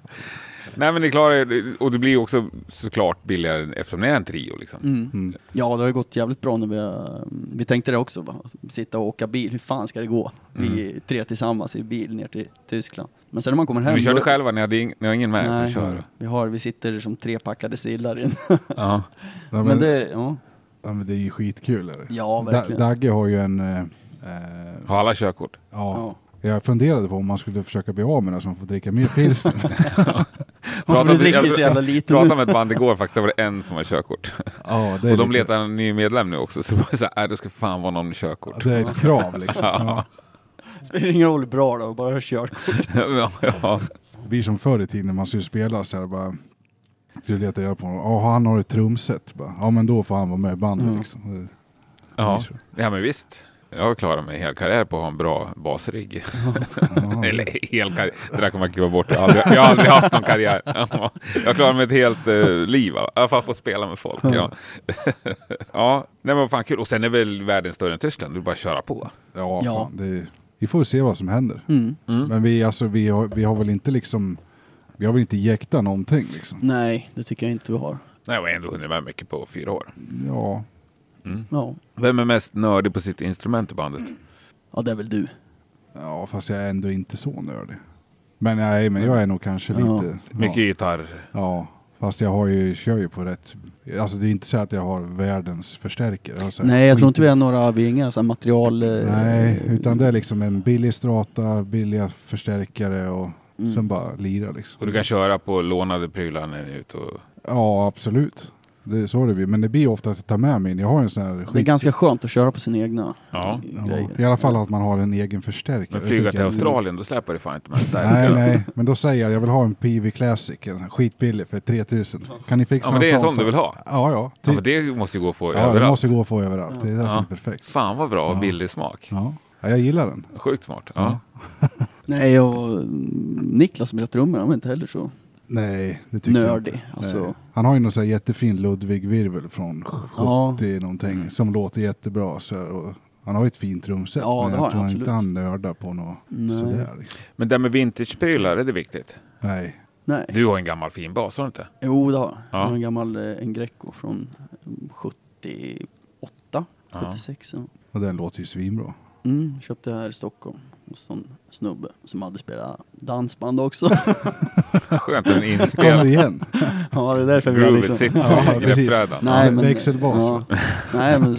A: Nej men ni klarar ju... Och det blir ju också såklart billigare än- eftersom ni är en trio. Liksom.
B: Mm.
C: Mm.
B: Ja, det har ju gått jävligt bra när vi har, Vi tänkte det också, va? sitta och åka bil. Hur fan ska det gå?
C: Mm.
B: Vi tre tillsammans i bil ner till Tyskland. Men sen när man kommer hem...
A: Vi körde
B: då-
A: själva, ni, hade ing, ni har ingen
C: alltså,
A: med som
B: Nej,
A: kör.
B: vi, har, vi sitter som tre packade sillar i en.
A: Ja.
C: Ja,
B: [LAUGHS]
C: men,
B: Men
C: det...
B: det, ja.
C: Ja, men det är ju skitkul. Är det?
B: Ja,
C: Da-
B: verkligen.
C: Dagge har ju en... Eh, eh,
A: Har alla körkort?
C: ja.
B: Ja.
C: Jag funderade på om man skulle försöka bli av med det så man får dricka mer pilsner.
B: Man får
A: Prata med-
B: dricker så jävla lite nu.
A: pratade med ett band igår faktiskt, där var det en som har körkort.
C: Ja, det är
A: Och de
C: lite-
A: letar en ny medlem nu också, så det var så här, äh, det ska fan vara någon med körkort.
C: Det är ett
A: [LAUGHS]
C: krav liksom. Ja.
B: Spelar ingen roll hur bra då, bara kör.
A: [LAUGHS] ja, ja.
C: Det blir som förr i tiden när man skulle spela så här bara. Du letar reda på honom. Ja, han har ett trumset. Bara, Ja, men då får han vara med i bandet
B: Mm.
C: liksom.
A: Ja. ja, men visst. Jag har klarat mig hel karriär på att ha en bra basrigg. [LAUGHS] Eller hel karriär, det där kommer jag kliva bort. Jag har aldrig, jag har aldrig haft någon
C: [LAUGHS]
A: karriär. Ja. Jag klarar mig ett helt eh, liv, va? i alla fall få spela med folk. Ja, [LAUGHS] ja. Nej, men vad fan kul. Och sen är väl världen större än Tyskland, du bara att köra på.
C: Ja,
B: Ja.
C: fan. Det är, vi får se vad som händer.
A: Mm.
C: Men vi, alltså, vi, har, vi har väl inte liksom. Vi har väl inte jäktat någonting liksom.
B: Nej, det tycker jag inte vi har.
A: Nej, jag har ändå hunnit med mycket på fyra år.
C: Ja,
B: Ja,
A: Vem är mest nördig på sitt instrument i bandet?
B: ja det är väl du.
C: ja fast jag är ändå inte så nördig. Men nej, men jag är nog kanske
B: Ja.
C: lite.
A: Mycket
C: Ja,
A: gitarr.
C: ja. fast jag har ju, kör ju på rätt. Alltså det är inte så att jag har världens förstärkare. alltså. Jag har så här
B: Nej, jag tror
C: skit-
B: inte vi har några, vi har inga så här material... eh,
C: Nej, utan det är liksom en billig strata, billiga förstärkare och
B: Mm.
C: sen bara lira liksom.
A: Och du kan köra på lånade prylar när ni är ute och...
C: Ja, absolut. Det är så det blir. Men det blir ofta att jag tar med min. Jag har en sån här
B: Det är
C: skit...
B: ganska skönt att köra på sina egna
A: Ja.
C: ja,
B: grejer.
C: I alla fall att man har en egen förstärkare.
A: Men flyga
C: Det
A: till
C: tycker jag-
A: Australien, då släpar det fan inte med en stark.
C: Nej, nej. Men då säger jag jag vill ha en PV Classic, en sån här skitbillig för 3000. Kan ni fixa
A: Ja, men det är en sån
C: så-
A: du vill ha?
C: Ja, ja.
A: Ja, men
C: Typ.
A: det måste ju gå att få
C: Ja, det
A: överallt.
C: måste gå att få överallt. Det är det som
A: Ja.
C: är perfekt.
A: Fan vad bra och
C: Ja.
A: billig smak.
C: Ja. ja, jag gillar den.
A: Sjukt smart. Ja.
B: Nej, och mm, Niklas som spelar trummor, han var inte heller så
C: Nej, det tycker jag inte.
B: nördig. Alltså,
C: Nej. Han har ju någon sån här jättefin Ludwig-virvel från 70
B: Ja. Mm.
C: någonting som låter jättebra. Så här, och han har ju ett fint trumset
B: Ja, det
C: men jag
B: har han,
C: tror han
B: absolut.
C: inte han nördar på något
B: Nej.
C: sådär. Liksom.
A: Men det här med vintageprylar, är det viktigt?
C: Nej.
B: nej.
A: Du har en gammal fin bas, har du inte?
B: Jo, det har jag.
A: Ja.
B: Jag har En gammal eh, en Greco från mm, 78,
A: Ja.
B: 76. Ja.
C: Och den låter ju svinbra.
B: Mm, köpte jag här i Stockholm hos en snubbe som hade spelat dansband också. [LAUGHS]
A: Skönt
C: [LAUGHS]
A: att den är
C: Kommer
A: inspelad.
C: igen.
B: ja, det är därför vi har
A: Groovet
B: liksom...
A: sitter
C: Ja,
A: i
C: precis.
A: greppbrädan.
C: Ja, växelbas,
B: Ja.
C: va?
B: [LAUGHS] nej, men,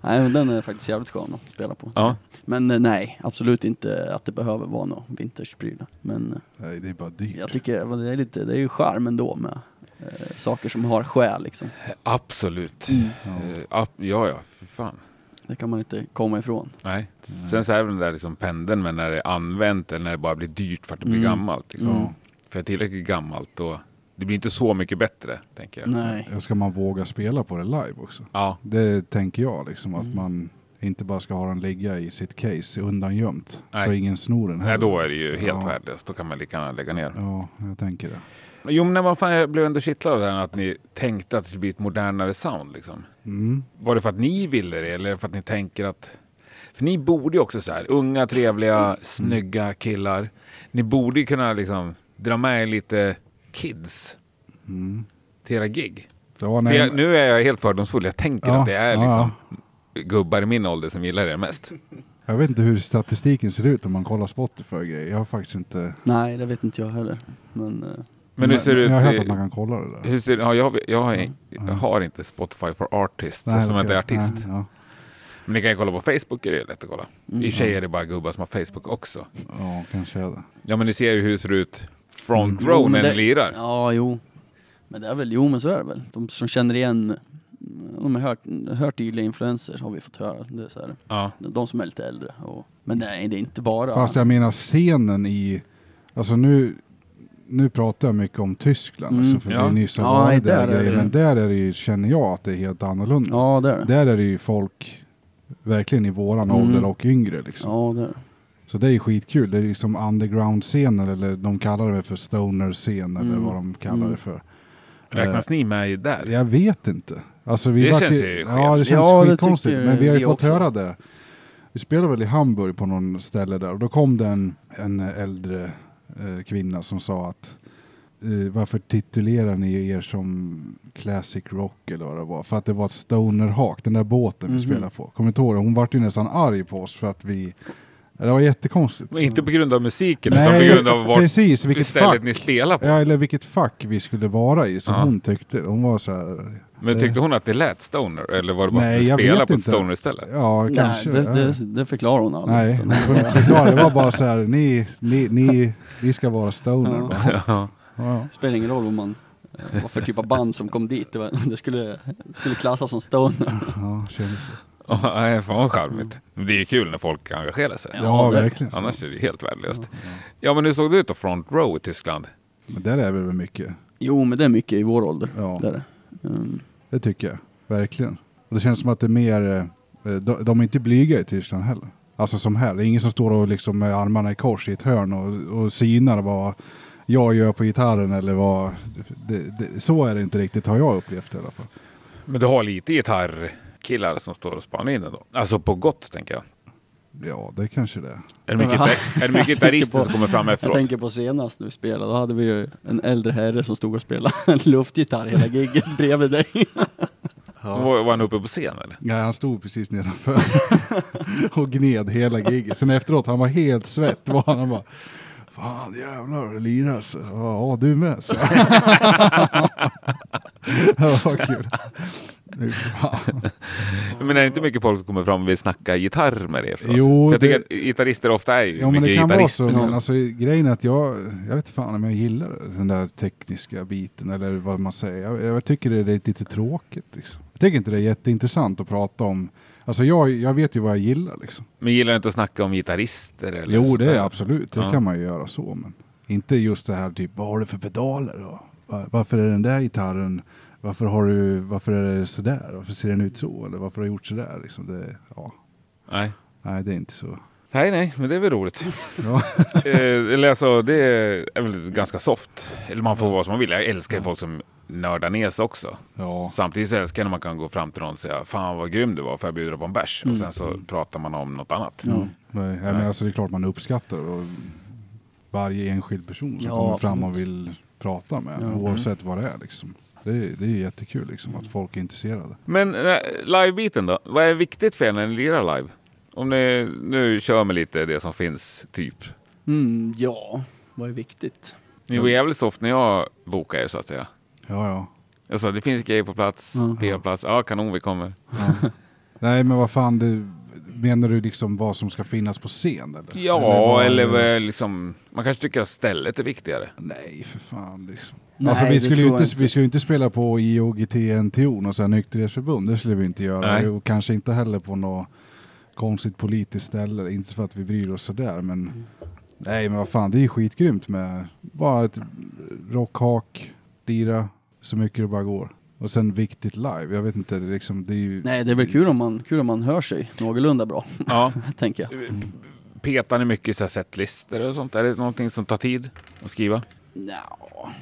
B: nej, men den är faktiskt jävligt skön att spela på.
A: Ja.
B: Men eh, nej, absolut inte att det behöver vara några vintersprylar. Men eh,
C: Nej, det är bara dyrt.
B: jag tycker väl det är lite, det är ju charm ändå med eh, saker som har själ liksom.
A: Absolut.
C: Mm.
A: Eh, ab- Ja, ja, för fan.
B: Det kan man inte komma ifrån.
A: Nej. Sen så är väl den där liksom pendeln med när det är använt eller när det bara blir dyrt för att det blir
B: Mm.
A: gammalt. Liksom.
B: Mm.
A: För tillräckligt gammalt då, det blir inte så mycket bättre, tänker jag.
B: Nej.
C: Ska man våga spela på det live också?
A: Ja,
C: Det tänker jag liksom
B: Mm.
C: att man inte bara ska ha den ligga i sitt case undangömt. Så
A: Nej.
C: ingen snor den heller.
A: Nej, då är det ju helt
C: Ja.
A: värdelöst. Då kan man lika gärna lägga ner.
C: Ja, jag tänker det.
A: Jo, men vad fan, jag blev ändå kittlad av det här att ni tänkte att det skulle bli ett modernare sound. Liksom.
C: Mm.
A: Var det för att ni ville det eller för att ni tänker att... För ni borde ju också så här, unga,
C: Mm.
A: trevliga, snygga killar. Ni borde ju kunna liksom dra med lite kids
C: Mm.
A: till era gig.
C: Ja,
A: För
C: nej,
A: jag, nu är jag helt fördomsfull. Jag tänker
C: Ja,
A: att det är
C: ja,
A: liksom gubbar i min ålder som gillar det mest.
C: jag vet inte hur statistiken ser ut om man kollar Spotify-grejer. Jag har faktiskt inte...
B: Nej, det vet inte jag heller. Men eh,
A: Men hur ser det
C: jag har hört
A: ut?
C: att
A: i-
C: man kan kolla det där.
A: Hur ser, ja, jag, jag, har, jag har inte Spotify for Artists,
C: Nej,
A: som
C: okej.
A: inte är artist.
C: Nej, ja.
A: Men ni kan ju kolla på Facebook, är det lätt att kolla. I och för sig är det bara gubbar som har Facebook också.
C: ja, kanske är det.
A: Ja, men ni ser ju hur det ser ut front
C: Mm.
B: Jo,
A: row
B: men
A: när
B: det-
A: ni lirar.
B: ja, jo. Men det är väl, jo men så är det väl. De som känner igen, de har hört, hört tydliga influenser har vi fått höra. Det är så här,
A: Ja.
B: de som är lite äldre. Och, men nej, det är inte bara.
C: Fast jag menar scenen i... Alltså nu, nu pratar jag mycket om Tyskland,
B: Mm.
C: alltså, för
A: Ja.
C: det är nyss har
B: Ja,
C: varit
B: nej,
C: där,
B: där är
C: grejer,
B: det-
C: men där är det ju, känner jag att det är helt annorlunda.
B: Ja, det är det.
C: Där är det ju folk verkligen i våran
B: Mm.
C: ålder och yngre liksom.
B: Ja, det är det.
C: Så det är ju skitkul. Det är ju som underground-scenen eller de kallar det väl för stoner-scen eller
B: Mm.
C: vad de kallar
B: Mm.
C: det för. Eh.
A: Räknas ni med i där?
C: Jag vet inte. Alltså, vi
A: Det
C: vart
A: känns ju
C: Ja, det
A: skevt.
C: känns
B: Ja, det
C: skitkonstigt.
B: tycker
C: Men vi har ju
B: vi
C: fått
B: också.
C: höra det. Vi spelade väl i Hamburg på någon ställe där och då kom det en, en äldre eh, kvinna som sa att eh, varför titulerar ni er som classic rock eller vad det var? För att det var ett stonerhak, den där båten vi
B: Mhm.
C: spelade på. Kommer inte ihåg det? Hon vart ju nästan arg på oss för att vi Det var jättekonstigt.
A: Men inte på grund av musiken, utan
C: Nej,
A: på grund av vart
C: precis. Vilket
A: stället
C: fack.
A: ni spelar på.
C: Ja, eller vilket fack vi skulle vara i som
A: Ja.
C: hon tyckte. Hon var så här...
A: Men tyckte hon att det lät stoner? Eller var det bara
C: Nej,
A: att
C: jag
A: ni spelade
C: vet
A: på ett
C: inte.
A: stoner-ställe?
C: Ja, kanske.
B: Nej,
C: ja.
B: det, det, det förklarar hon aldrig.
C: Nej,
B: Utan-
C: det var inte förklarat. Det var bara så här, ni, ni, ni, ni ska vara stoner.
B: Ja.
C: bara.
A: [LAUGHS] Ja.
C: Ja.
B: Spelar ingen roll vad man eh, vad för typ av band som kom dit. Det, var, det skulle, skulle klassas som stoner. [LAUGHS]
C: Ja, kändes det.
A: Ja, nej, fan vad charmigt. Men Det är ju kul när folk engagerar sig.
C: Mm. ja, verkligen.
A: Annars är det ju helt värdelöst. Ja, men hur såg det ut då? Front row i Tyskland?
C: Men där är vi väl mycket.
B: Jo, men det är mycket i vår ålder.
C: Ja.
B: Det är det. Mm.
C: Det tycker jag. Verkligen. Och det känns som att det är mer... eh, De, de är inte blyga i Tyskland heller. Alltså som här. Det är ingen som står och liksom med armarna i kors i ett hörn och, och synar vad jag gör på gitarren eller vad... Det, det, så är det inte riktigt har jag upplevt i alla fall.
A: Men du har lite gitarrkillar som står och spanar in den då? Alltså på gott, tänker jag.
C: Ja, det kanske det är.
A: Är det mycket,
B: Men-
A: gitar- är det mycket gitarrister som kommer fram
B: Jag
A: efteråt?
B: tänker på senast när vi spelade, då hade vi ju en äldre herre som stod och spelade [LAUGHS] en luftgitarr hela giget [LAUGHS] bredvid dig.
A: Var, var han uppe på scen eller?
C: Nej, han stod precis nedanför [LAUGHS] och gned hela giget. Sen efteråt, han var helt svett. Var han, han bara, Fan jävlar, det liras. Ja, du med. Så. [LAUGHS] det var kul. Nu, fan.
A: Men är det inte mycket folk som kommer fram och vill snacka gitarr med dig efteråt?
C: Jo,
A: För jag tycker
C: det-
A: att gitarrister ofta är ju
C: Ja, men
A: mycket
C: det kan vara
A: gitarrister.
C: så. Men
A: liksom.
C: alltså, grejen är att jag, jag vet fan om jag gillar den där tekniska biten eller vad man säger. Jag, jag tycker det är lite tråkigt. Liksom. Jag tycker inte det är jätteintressant att prata om. Alltså jag, jag vet ju vad jag gillar liksom.
A: Men gillar du inte att snacka om gitarrister? Eller
C: Jo,
A: sånt
C: det
A: där?
C: är absolut. Det
A: Ja.
C: kan man ju göra så. Men inte just det här typ, vad har du för pedaler? Då? Va- Varför är den där gitarren, varför, har du, varför är det sådär? Varför ser den ut så? Eller varför har du gjort sådär? Liksom det, ja.
A: Nej.
C: Nej, det är inte så.
A: nej, nej, men det är väl roligt.
C: Ja.
A: [LAUGHS] Eh, eller alltså, det är väl ganska soft. Eller man får vara som man vill. Jag älskar ju folk som nördar ner sig också.
C: Ja.
A: Samtidigt så älskar jag när man kan gå fram till någon och säga Fan vad grym du var, får jag bjuda dig på en bärs?
C: Mm.
A: Och sen så pratar man om något annat.
C: Nej, nej, men alltså, det är klart man uppskattar och varje enskild person som
B: Ja,
C: kommer fram och vill prata med. Oavsett vad det är liksom. Det, är- det är ju jättekul liksom, att folk är intresserade.
A: Men eh, live-biten då? Vad är viktigt för er när ni lirar live? Om ni nu kör med lite det som finns, typ.
B: Mm, ja, vad är viktigt?
A: Ni
B: Mm.
A: var jävligt soft när jag bokade er så att säga.
C: Ja, ja.
A: Jag sa det finns grejer på plats,
B: Ja.
A: P på plats, ja kanon vi kommer.
C: Nej, men vad fan, du, menar du liksom vad som ska finnas på scen? Eller?
A: Ja,
C: vad-
A: eller vad- liksom, man kanske tycker att stället är viktigare.
C: Nej, för fan. Liksom.
B: Nej,
C: alltså, vi,
B: det
C: skulle ju
B: tror
C: inte,
B: jag inte.
C: vi skulle ju inte spela på IOGT-NTO, något sånt här nykterhetsförbund. Det skulle vi inte göra.
A: Nej.
C: Och kanske inte heller på något konstigt politiskt ställe. Inte för att vi bryr oss sådär, men
B: Mm.
C: nej, men vad fan, det är ju skitgrymt med bara ett rockhak, lira så mycket det bara går. Och sen viktigt live. Jag vet inte, det är liksom, det är ju...
B: Nej, det är väl kul om man, kul om man hör sig någorlunda bra, [LAUGHS]
A: Ja.
B: tänker jag.
A: Petar ni mycket i så här setlister och sånt? Är det någonting som tar tid att skriva?
B: Nja,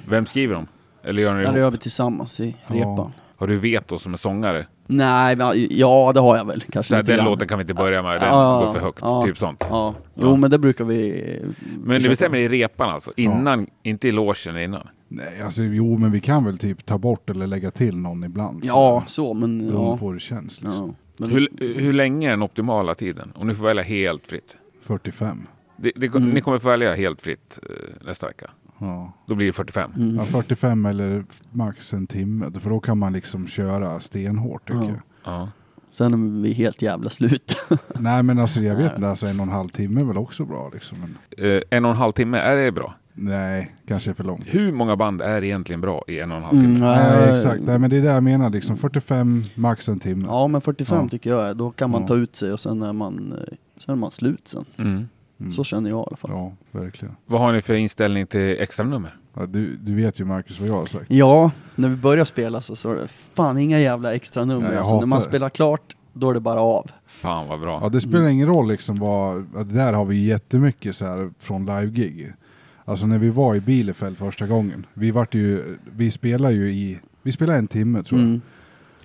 A: Vem skriver dem? Eller gör ni
B: där
A: det
B: gör
A: ihop?
B: vi tillsammans i
C: Ja.
B: repan.
A: Har du veto som är sångare?
B: Nej, men- ja det har jag väl kanske.
A: Så här,
B: lite
A: den
B: grann.
A: låten kan vi inte börja med, den
B: Ja,
A: går för högt.
B: ja,
A: Typ sånt.
B: Ja, jo men det brukar vi... eh,
A: Men det
B: försöka-
A: bestämmer i repan alltså? Innan, inte i logen innan?
C: Nej, alltså jo, men vi kan väl typ ta bort eller lägga till någon ibland.
B: Ja,
C: sådär.
B: så men...
C: Beroende
B: Ja.
C: på hur det känns liksom.
B: Ja. Men,
A: Hur, hur länge är den optimala tiden? Om ni får välja helt fritt.
C: 45.
A: Det, det,
C: Mm.
A: Ni kommer få välja helt fritt eh, nästa vecka.
C: Ja.
A: Då blir det 45.
C: Ja, 45 eller max en timme. För då kan man liksom köra stenhårt tycker
B: Ja.
C: jag.
A: Ja.
B: Sen är vi helt jävla slut. [LAUGHS]
C: Nej men alltså jag vet inte, alltså en och en halv timme är väl också bra liksom. Men,
A: Eh, en och en halv timme, är det bra?
C: nej, kanske är för långt.
A: Hur många band är egentligen bra i en och en halv timme?
B: Mm,
C: Nej
B: eh,
C: exakt, nej, men det är det jag menar liksom. 45 max en timme.
B: Ja men 45
C: Ja.
B: tycker jag är. Då kan man
C: Ja.
B: ta ut sig och sen är man, eh, sen är man slut sen.
A: Mm.
C: Mm.
B: Så känner jag i alla fall. Ja,
C: Ja, verkligen.
A: Vad har ni för inställning till extranummer?
C: Ja, du, du vet ju Marcus vad jag har sagt.
B: när vi börjar spela så, så är det fan inga jävla extra nummer.
C: Nej, jag
B: alltså, när
C: hatar
B: man
C: det.
B: spelar klart, då är det bara av.
A: Fan vad bra.
C: Ja, det spelar ingen roll liksom vad, ja, det där har vi ju jättemycket så här från live-gig. Alltså när vi var i Bielefeld första gången, vi vart ju, vi spelar ju i, vi spelar en timme tror jag.
B: Mm.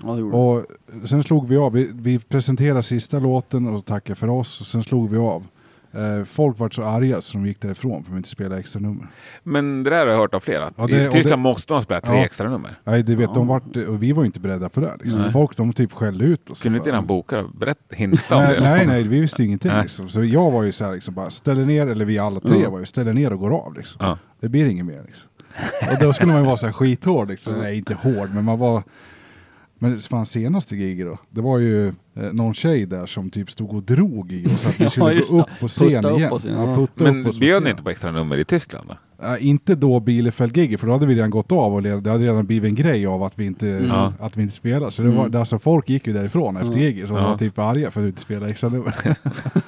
B: Ja, det gjorde det.
C: Och sen slog vi av. Vi, vi presenterade sista låten och tackade för oss. Och sen slog vi av. Eh, folk vart så arga så de gick därifrån för de inte spelade extra nummer.
A: Men det där har jag hört av flera. att
C: Ja, det-
A: I
C: och
A: Tyskland
C: det-
A: måste man spela tre
C: Ja.
A: extra nummer.
C: Nej, det vet, de vart, och vi var ju inte beredda på det. Liksom. Folk de typ skällde ut oss.
A: Kunde inte
C: Bara,
A: dina bokare berätta, hinta om
C: Nej,
A: det?
C: nej, nej, vi visste ingenting.
A: Nej.
C: Liksom. Så jag var ju så här, liksom, bara ställer ner, eller vi alla tre var ju, ställer ner och går av. Liksom.
A: Ja.
C: Det blir inget mer. Liksom. Och då skulle man ju vara så här skithård. Liksom. Nej, inte hård, men man var... Men fan senaste giget då, det var ju eh, någon tjej där som typ stod och drog i oss att
B: [LAUGHS]
C: vi
B: Ja,
C: skulle
B: just
C: gå upp
B: det.
C: på scen
B: Putta upp
C: igen.
B: oss igen.
C: Ja, putta
A: Men
C: upp oss på
A: bjöd
C: scen.
A: ni inte på extra nummer i Tyskland? Då?
C: Ja, inte då Bielefeld-giget, för då hade vi redan gått av och det hade redan blivit en grej av att vi inte,
B: Mm.
A: Ja.
C: att vi inte spelade. Så det var, alltså, folk gick ju därifrån efter giget som
A: Ja.
C: var typ arga för att vi inte spelade extra nummer.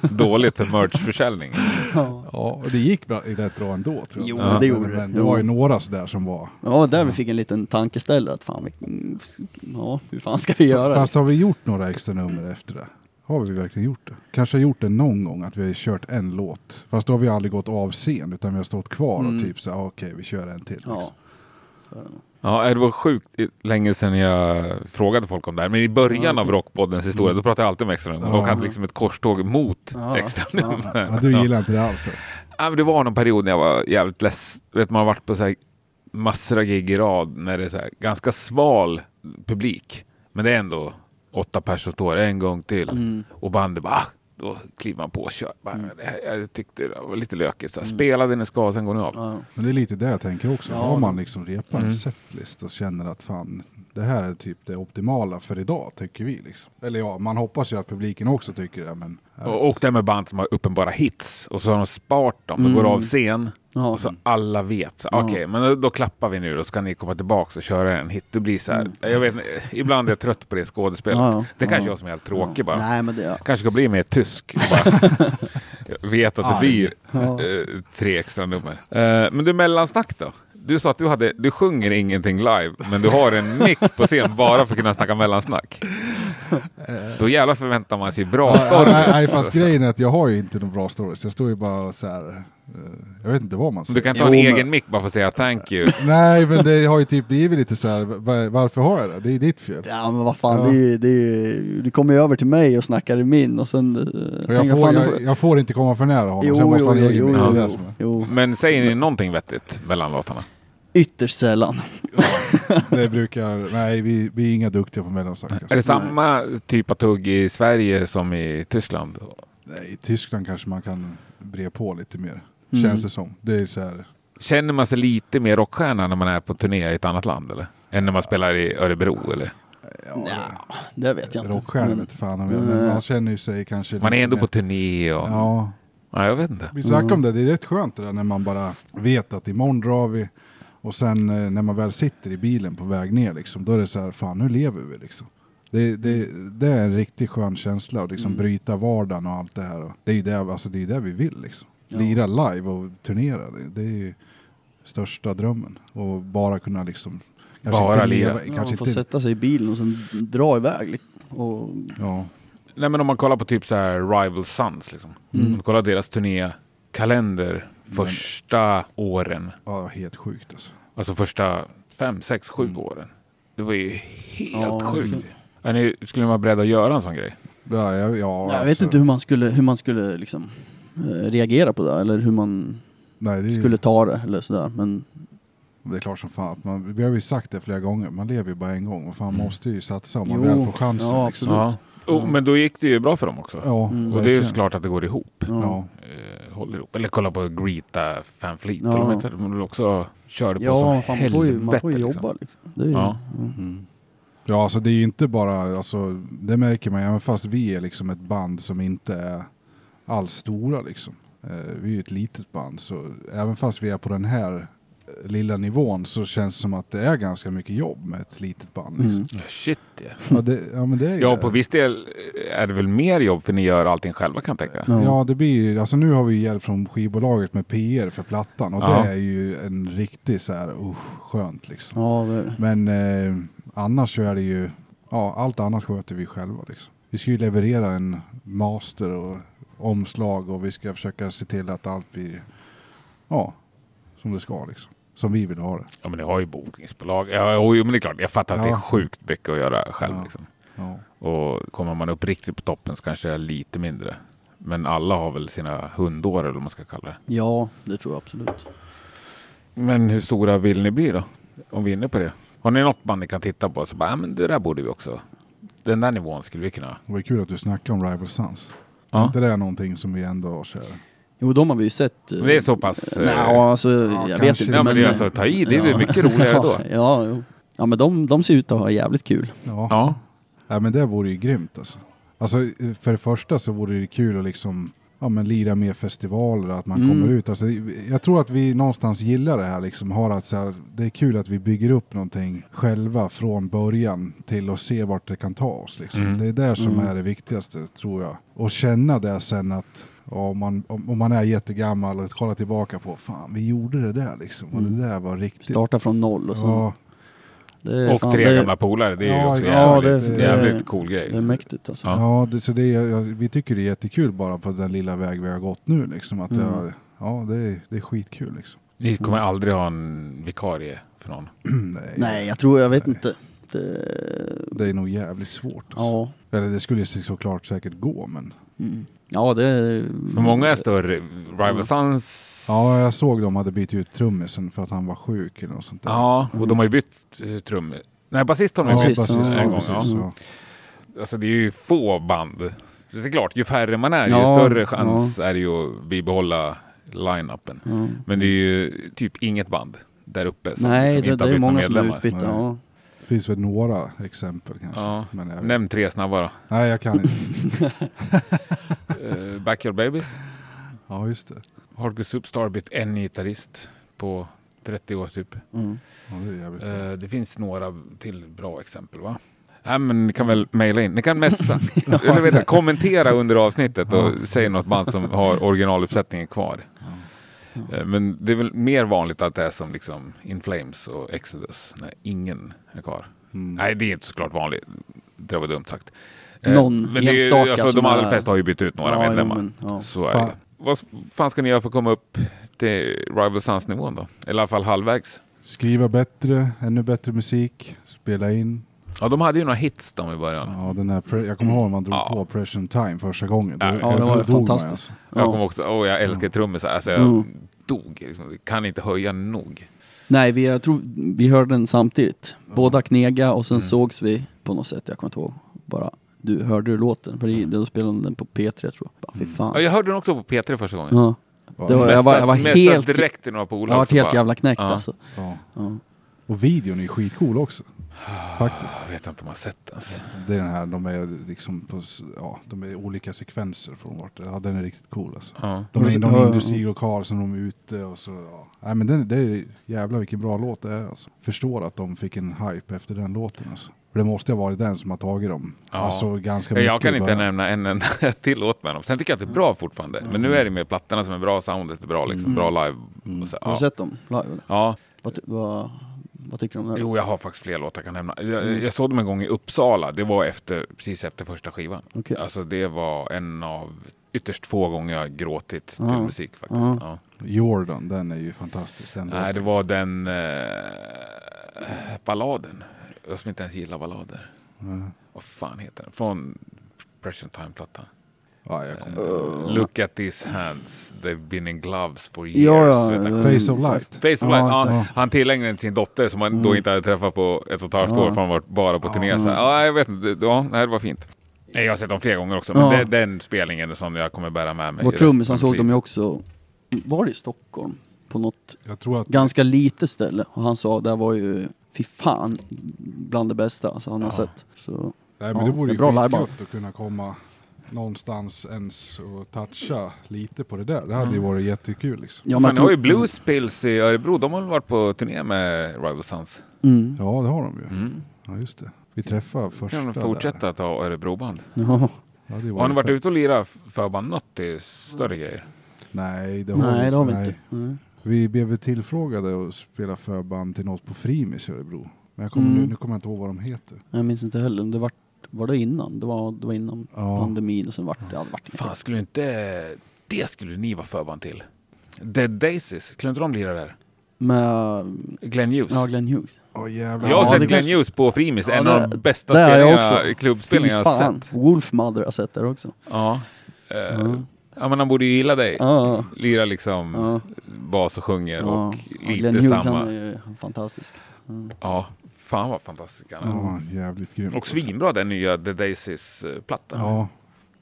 A: Dåligt för merchförsäljning.
C: [LAUGHS] Ja, och det gick bra, rätt bra ändå tror jag.
B: Jo,
C: men,
B: det gjorde
C: men,
B: det.
C: det var ju några sådär som var...
B: Ja, där vi fick en liten tankeställare att fan, vi- mm, ja, hur fan ska vi göra?
C: Fast har vi gjort några extra nummer efter det? Har vi verkligen gjort det? Kanske har gjort det någon gång att vi har kört en låt. Fast då har vi aldrig gått av scen utan vi har stått kvar och typ så här, "Ah, okej vi kör en till.
B: ja.
C: liksom.
A: Ja, det var sjukt länge sedan jag frågade folk om det här. Men i början av Rockpoddens historia, då pratade jag alltid om extra nummer. Och hade liksom ett korståg mot
B: Ja.
A: extra nummer.
C: Ja, du gillar inte det alls?
A: Ja, men det var någon period när jag var jävligt less. Vet, man har varit på så här massor av gig i rad när det är så här ganska sval publik. Men det är ändå åtta personer som står en gång till. Och bandet bara... ah, Då kliver man på och kör. Bara, det här, jag tyckte det var lite lökigt. Så här, Spela det ni ska, sen går ni av.
B: Ja.
C: Men det är lite det jag tänker också. Har man liksom repat en setlist och känner att fan, det här är typ det optimala för idag tycker vi. Liksom. Eller ja, man hoppas ju att publiken också tycker det. Men,
A: Och, och det med band som har uppenbara hits och så har de sparat dem, de går av scen
B: Mm. Ja.
A: och så alla vet. så, Okej, men då, då klappar vi nu och så kan ni komma tillbaka och köra en hit. Det blir så här, jag vet inte, ibland är jag trött på det skådespelet.
B: Mm. Ja, ja.
A: Det kanske
B: Ja.
A: jag som är helt tråkig bara.
B: Nej, men det... Ja.
A: Kanske ska bli mer tysk. och Bara.
C: [LAUGHS]
A: jag vet att det blir
B: Ja.
A: eh, tre extra nummer. Eh, men du, mellansnack då? Du sa att du, hade, du sjunger ingenting live, men du har en mick på scen bara för att kunna snacka mellansnack. Då jävlar förväntar man sig bra
C: Eh.
A: Alltså,
C: Ja,
A: stories.
C: nej, nej, fast grejen är att jag har ju inte någon bra stories. Jag står ju bara så här. eh, Jag vet inte vad man
A: Du
C: säger.
A: kan inte ha en
B: Jo, men-
A: egen mick bara för att säga thank you.
C: Nej, men det har ju typ blivit lite så här. va- Varför har jag det? Det är ditt fel.
B: Ja men vad fan,
C: Ja.
B: det är, ju- det är, ju- du kommer ju över till mig och snackar i min och sen... eh,
C: Och jag,
B: tänker,
C: får,
B: fan, då
C: jag, jag får inte komma för nära honom.
B: Jo,
C: Sen måste
B: jo,
C: han
B: jo,
C: ge
B: jo,
C: mig.
B: jo,
C: Det är det
B: jo,
C: som är-
B: jo.
A: Men säger ni någonting vettigt mellan låtarna?
B: Ytterst sällan.
C: Det brukar... Nej, vi, vi är inga duktiga på mellansack.
A: Är
C: Alltså.
A: det samma typ av tugg i Sverige som i Tyskland?
C: Nej, I Tyskland kanske man kan bre på lite mer. Känns det som. Det är så här.
A: Känner man sig lite mer rockstjärna när man är på turné i ett annat land? Eller? Än när man spelar i Örebro? Eller?
B: Ja, det vet jag inte.
C: Rockstjärna
B: Men-
C: vete fan om jag, men man känner ju sig kanske...
A: Man är
C: lite
A: ändå
C: mer-
A: på turné och... Ja.
C: Ja,
A: jag vet inte.
C: Vi
B: Mm.
C: snackade om det, det är rätt skönt det där när man bara vet att imorgon drar vi och sen eh, när man väl sitter i bilen på väg ner liksom, då är det så här, fan nu lever vi liksom. Det, det, det är en riktigt skön känsla att
B: Mm.
C: liksom bryta vardagen och allt det här. Och det är ju det, alltså det, är det vi vill liksom. Lira live och turnera, det, det är ju största drömmen. Och bara kunna liksom, kanske
A: Bara
C: inte
A: lira.
C: leva,
B: Ja, man
C: kanske
B: får
C: inte,
B: sätta sig i bilen och sen dra iväg. liksom. Och,
C: ja.
A: Nej, men om man kollar på typ så här Rival Sons. Liksom. Om du kollar deras turnékalender första åren.
C: ja, helt sjukt alltså.
A: Alltså första fem, sex, sju åren. Det var ju helt
B: Ja,
A: sjukt.
B: verkligen.
A: Är ni, skulle ni vara beredda att göra en sån grej?
C: Ja, ja, ja,
B: jag vet
C: alltså.
B: inte hur man skulle, hur man skulle liksom, eh, reagera på det eller hur man
C: Nej, det är ju-
B: skulle ta det eller sådär. Men
C: Det är klart som fan, att man, vi har ju sagt det flera gånger, man lever ju bara en gång och fan måste ju satsa om man
B: Mm. Jo.
C: väl får chansen.
B: Ja, Mm.
C: liksom.
B: absolut.
A: Oh, men då gick det ju bra för dem också.
C: ja
A: Och det är ju
C: verkligen.
A: såklart att det går ihop.
C: Ja.
A: Eh, Håller ihop. Eller kolla på Greta Van Fleet.
B: Ja.
A: Ja. De heter, de också körde på som
B: ja, fan, man,
A: helvete.
B: får ju, man får ju
A: liksom.
B: jobba liksom. Det är ju,
A: Ja.
B: Mm.
C: ja, alltså det är ju inte bara, alltså, det märker man ju, även fast vi är liksom ett band som inte är alls stora liksom. Eh, Vi är ju ett litet band, så även fast vi är på den här eh, lilla nivån så känns det som att det är ganska mycket jobb med ett litet band.
B: mm.
C: Liksom.
A: Ja, Shit ja.
C: Ja, det, ja, men det är ju
A: Ja,
C: det.
A: på viss del eh, är det väl mer jobb för ni gör allting själva kan jag tänka.
B: Ja.
C: Ja, det blir ju, alltså nu har vi ju hjälp från skivbolaget med PR för plattan och
A: Ja.
C: det är ju en riktig så här, usch, skönt liksom.
B: Ja, det,
C: Men eh, annars så är det ju, ja allt annat sköter vi själva liksom. Vi ska ju leverera en master och omslag och vi ska försöka se till att allt blir, ja, som det ska liksom. Som vi vill ha det.
A: Ja, men ni har ju bokningsbolag. Ja, jo, jo, men det är klart. Jag fattar att det är
C: Ja.
A: sjukt mycket att göra själv.
C: Ja.
A: Liksom.
C: Ja.
A: Och kommer man upp riktigt på toppen så kanske det är lite mindre. Men alla har väl sina hundår eller vad man ska kalla det.
B: Ja, det tror jag absolut.
A: Men hur stora vill ni bli då? Om vi är inne på det. Har ni något band ni kan titta på? Så bara, ja, men det där borde vi också. Den där nivån skulle vi kunna.
C: Det var ju kul att du snackade om Rival Sons. Är
A: Ja.
C: inte det är någonting som vi ändå har kär?
B: Jo, de har vi ju sett. eh,
A: Men det är så pass... eh,
B: Nej, alltså, jag
C: kanske
B: vet inte.
C: inte.
A: ja, men det är
B: eh,
A: alltså, ta i, det är ju
B: ja.
A: mycket roligare
B: [LAUGHS]
A: då.
B: Ja, ja, jo. ja men de, de ser ut att ha jävligt kul.
C: Ja. ja.
A: Ja,
C: men det vore ju grymt alltså. Alltså för det första så vore det kul att liksom ja, men lira mer festivaler, att man
B: Mm.
C: kommer ut. Alltså, jag tror att vi någonstans gillar det här liksom. Har att, så här, det är kul att vi bygger upp någonting själva från början till att se vart det kan ta oss. Liksom.
A: Mm.
C: Det är där som
B: Mm.
C: är det viktigaste tror jag. Och känna det sen att ja, om, man, om, om man är jättegammal och kollar tillbaka på fan vi gjorde det där liksom. Och
B: Mm.
C: det där var riktigt.
B: Starta från noll och så.
C: Ja,
B: Det är
A: och
B: fan-
A: tre
B: det,
A: gamla polare. Det är ju
C: Ja,
A: också
C: ja,
A: jävligt,
C: det- det-
A: jävligt cool
B: Det är
A: grej.
B: mäktigt alltså.
A: Ja.
C: Ja, det, så det, är- jag- vi tycker det är jättekul bara på den lilla väg vi har gått nu. Liksom, att det,
B: Mm.
C: har, ja, det, är, det är skitkul. Liksom. [CLEARS THROAT]
A: Ni kommer aldrig ha en vikarie för någon.
C: Nej,
B: Nej, jag tror, jag vet inte. Det,
C: Det är nog jävligt svårt. Alltså.
B: ja.
C: Eller det skulle ju såklart säkert gå, men...
B: Mm. Ja, det är...
A: För många är större. Rival Sons...
C: Ja, jag såg de hade bytt ut trummisen för att han var sjuk eller något sånt där.
A: Ja, och de har ju bytt eh, trummor. Nej, basist har de
C: ja
A: ju
B: precis.
A: bytt.
C: basist.
B: Ja,
C: Ja,
A: en gång,
C: precis.
A: ja.
C: Ja.
A: Alltså det är ju få band. Det är klart, ju färre man är, ju
B: Ja,
A: större chans är det ju att bibehålla line-upen.
B: Ja.
A: Men det är ju typ inget band där uppe som,
B: Nej,
A: som
B: det,
A: inte
B: det
A: har
B: är
A: bytt några
B: många som är
A: medlemmar.
B: utbytta.
C: Nej.
B: Ja.
C: Det finns väl några exempel kanske.
A: Ja.
C: Men jag,
A: Nämn tre snabba då.
C: Nej, jag kan inte.
A: [CLEARS THROAT] Eh, Backyard Babies.
C: Ja, just det.
A: Hardcore Superstar har bytt en gitarrist på 30 år typ.
B: Mm.
C: Ja, det är jävligt
A: Eh, det finns några till bra exempel va? Nej, men ni kan väl mejla in. Ni kan messa. Eller vet du, kommentera under avsnittet och säg något band som har originaluppsättningen kvar. Eh, Men det är väl mer vanligt att det är som liksom In Flames och Exodus när ingen är kvar.
C: Mm.
A: Nej, det är inte såklart vanligt. Det var dumt sagt. Eh,
B: Någon
A: men det är, ju-
B: enstaka
A: alltså,
B: som
A: De allra
B: är-
A: flesta har ju bytt ut några
B: ja,
A: medlemmar.
B: jo, men, ja.
A: Så är
C: Fan.
A: det. Vad s- fan ska ni göra för att komma upp till Rival Sons-nivån då? Eller i alla fall halvvägs.
C: Skriva bättre, ännu bättre musik, spela in.
A: Ja, de hade ju några hits de i början.
C: Ja, den här pre- jag kommer ihåg när man drog
A: Ja.
C: på Pressure Time första gången. Då-
A: Ja,
C: då
B: det var
C: dog man,
B: fantastiskt.
C: alltså.
A: Jag
B: Ja.
A: kommer också, åh jag älskar trummisar. Alltså jag
B: Mm.
A: dog. Liksom. Kan inte höja nog.
B: Nej, vi, jag tror, vi hörde den samtidigt. Båda knega och
A: Mm.
B: sen sågs vi på något sätt, jag kommer inte ihåg. Bara, du, hörde du låten? För det- då spelade den på P3 tror jag. Bara, fy fan.
A: Mm. Ja, jag hörde den också på P3 första gången.
B: Ja.
C: alltså.
B: Det var,
A: Mässad-
B: jag var, jag var
A: mässad
B: helt, jag
A: direkt till några polare.
B: var
A: också
B: helt
A: bara,
B: jävla knäckt
A: Ja.
B: alltså.
C: Ja.
B: Ja.
C: Och videon är ju skitcool också. Faktiskt.
A: Jag vet inte om man har sett den. ens.
C: Det är den här, de är liksom på, s- ja, de är olika sekvenser från vart. Ja, den är riktigt cool alltså.
A: Ja.
C: De är i
B: Ja, ja,
C: någon
B: ja.
C: industrilokal som de är ute och så, ja. Nej men den, det är, jävlar vilken bra låt det är alltså. Förstår att de fick en hype efter den låten alltså. För det måste ha varit den som har tagit dem.
A: Ja.
C: Alltså ganska mycket.
A: Jag kan
C: i
A: inte
C: början.
A: nämna en enda [LAUGHS] till låt med dem. Sen tycker jag att det är bra fortfarande. Men nu är det mer plattorna som är bra, soundet är bra, liksom, bra live. Och så,
B: Mm. Har du
A: ja.
B: sett dem live eller?
A: Ja.
B: Vad, ty- vad, vad tycker du om det?
A: Jo, jag har faktiskt fler låtar jag kan nämna. Jag,
B: Mm.
A: jag såg dem en gång i Uppsala. Det var efter, precis efter första skivan.
B: Okej.
A: Alltså, det var en av ytterst få gånger jag har gråtit till
B: Ja.
A: musik faktiskt.
B: Ja.
A: Ja.
C: Jordan, den är ju fantastisk. Den
A: Nej, det
C: låten.
A: var den eh, balladen. Jag som inte ens gillar ballader.
C: Mm.
A: Vad fan heter den? Från Pressure Time-plattan.
C: Ja, jag kommer.
A: Look at these hands. They've been in gloves for years.
B: Uh, Ja, ja,
A: Vet du.
B: eh,
C: Face of Light.
A: Face of
B: Ja, Mm.
A: Light. Ja,
C: exakt.
A: han tillägnade den till sin dotter som han då inte hade träffat på ett och ett halvt år. För han var bara på turné. Så, här, ja, jag vet inte. Det- Ja, nej, det var fint. Nej, Jag har sett dem flera gånger också. Men
B: Ja.
A: det- den spelningen är som jag kommer bära med mig.
B: Vår
A: i resten
B: trummis, han
A: av
B: såg
A: mitt
B: dem
A: liv.
B: ju också, var det i Stockholm? På något
C: Jag tror att
B: ganska litet ställe. Och han sa, det var ju, fy fan, bland det bästa alltså, han har sett. Så,
C: Nej, men
B: Ja,
C: det vore
B: det är
C: ju
B: bra lajban.
C: skitgött att kunna komma någonstans ens och toucha lite på det där. Det hade ju varit jättekul liksom.
B: Mm. ja,
A: Fan,
B: men
A: ni har ju
B: jag tror-
A: Blues Pills i Örebro. De har väl varit på turné med Rival Sons?
B: Mm.
C: Ja, det har de ju. Ja, just det. Vi träffade första
A: kan de
C: där.
A: fortsätta att ha Örebroband.
B: Ja.
C: Ja, det
A: Har ni varit
C: fett.
A: ute och lirat förband något i större grejer?
C: Nej, det har,
B: Nej, det har vi
C: nej.
B: inte. Nej.
C: Vi blev väl tillfrågade att spela förband till något på Frimis i Örebro. Men jag kommer,
B: Mm.
C: nu, nu kommer jag inte ihåg vad de heter.
B: Jag minns inte heller, det var, var det innan? Det var, det var innan
C: Ja.
B: pandemin och sen vart det, ja, det vart inget.
A: Fan, skulle inte... Det skulle ni vara förband till. Dead Daisies, skulle inte de lira där?
B: Med,
A: Glenn Hughes.
B: ja Glenn Hughes.
C: Åh
A: jag
C: jävlar.
A: har
B: Ja,
A: sett
B: det
A: Glenn
B: kanske-
A: Hughes på Frimis,
B: Ja,
A: en
B: det-
A: av de bästa
B: det har jag
A: spelningarna,
B: också.
A: klubbspelningar jag
B: Fy
A: har
B: fan.
A: sett.
B: Wolfmother har jag sett där också.
A: Ja. Eh, ja, men han borde ju gilla dig.
B: Mm. Ja,
A: Lirar liksom
B: ja,
A: bas och sjunger
B: ja.
A: och
B: Ja,
A: lite
B: Glenn Hughes,
A: samma.
B: han är ju fantastisk.
A: Ja, fan vad fantastisk han är.
C: Ja, jävligt grymt.
A: Och svinbra den nya The eh, Daisies-plattan.
C: Ja,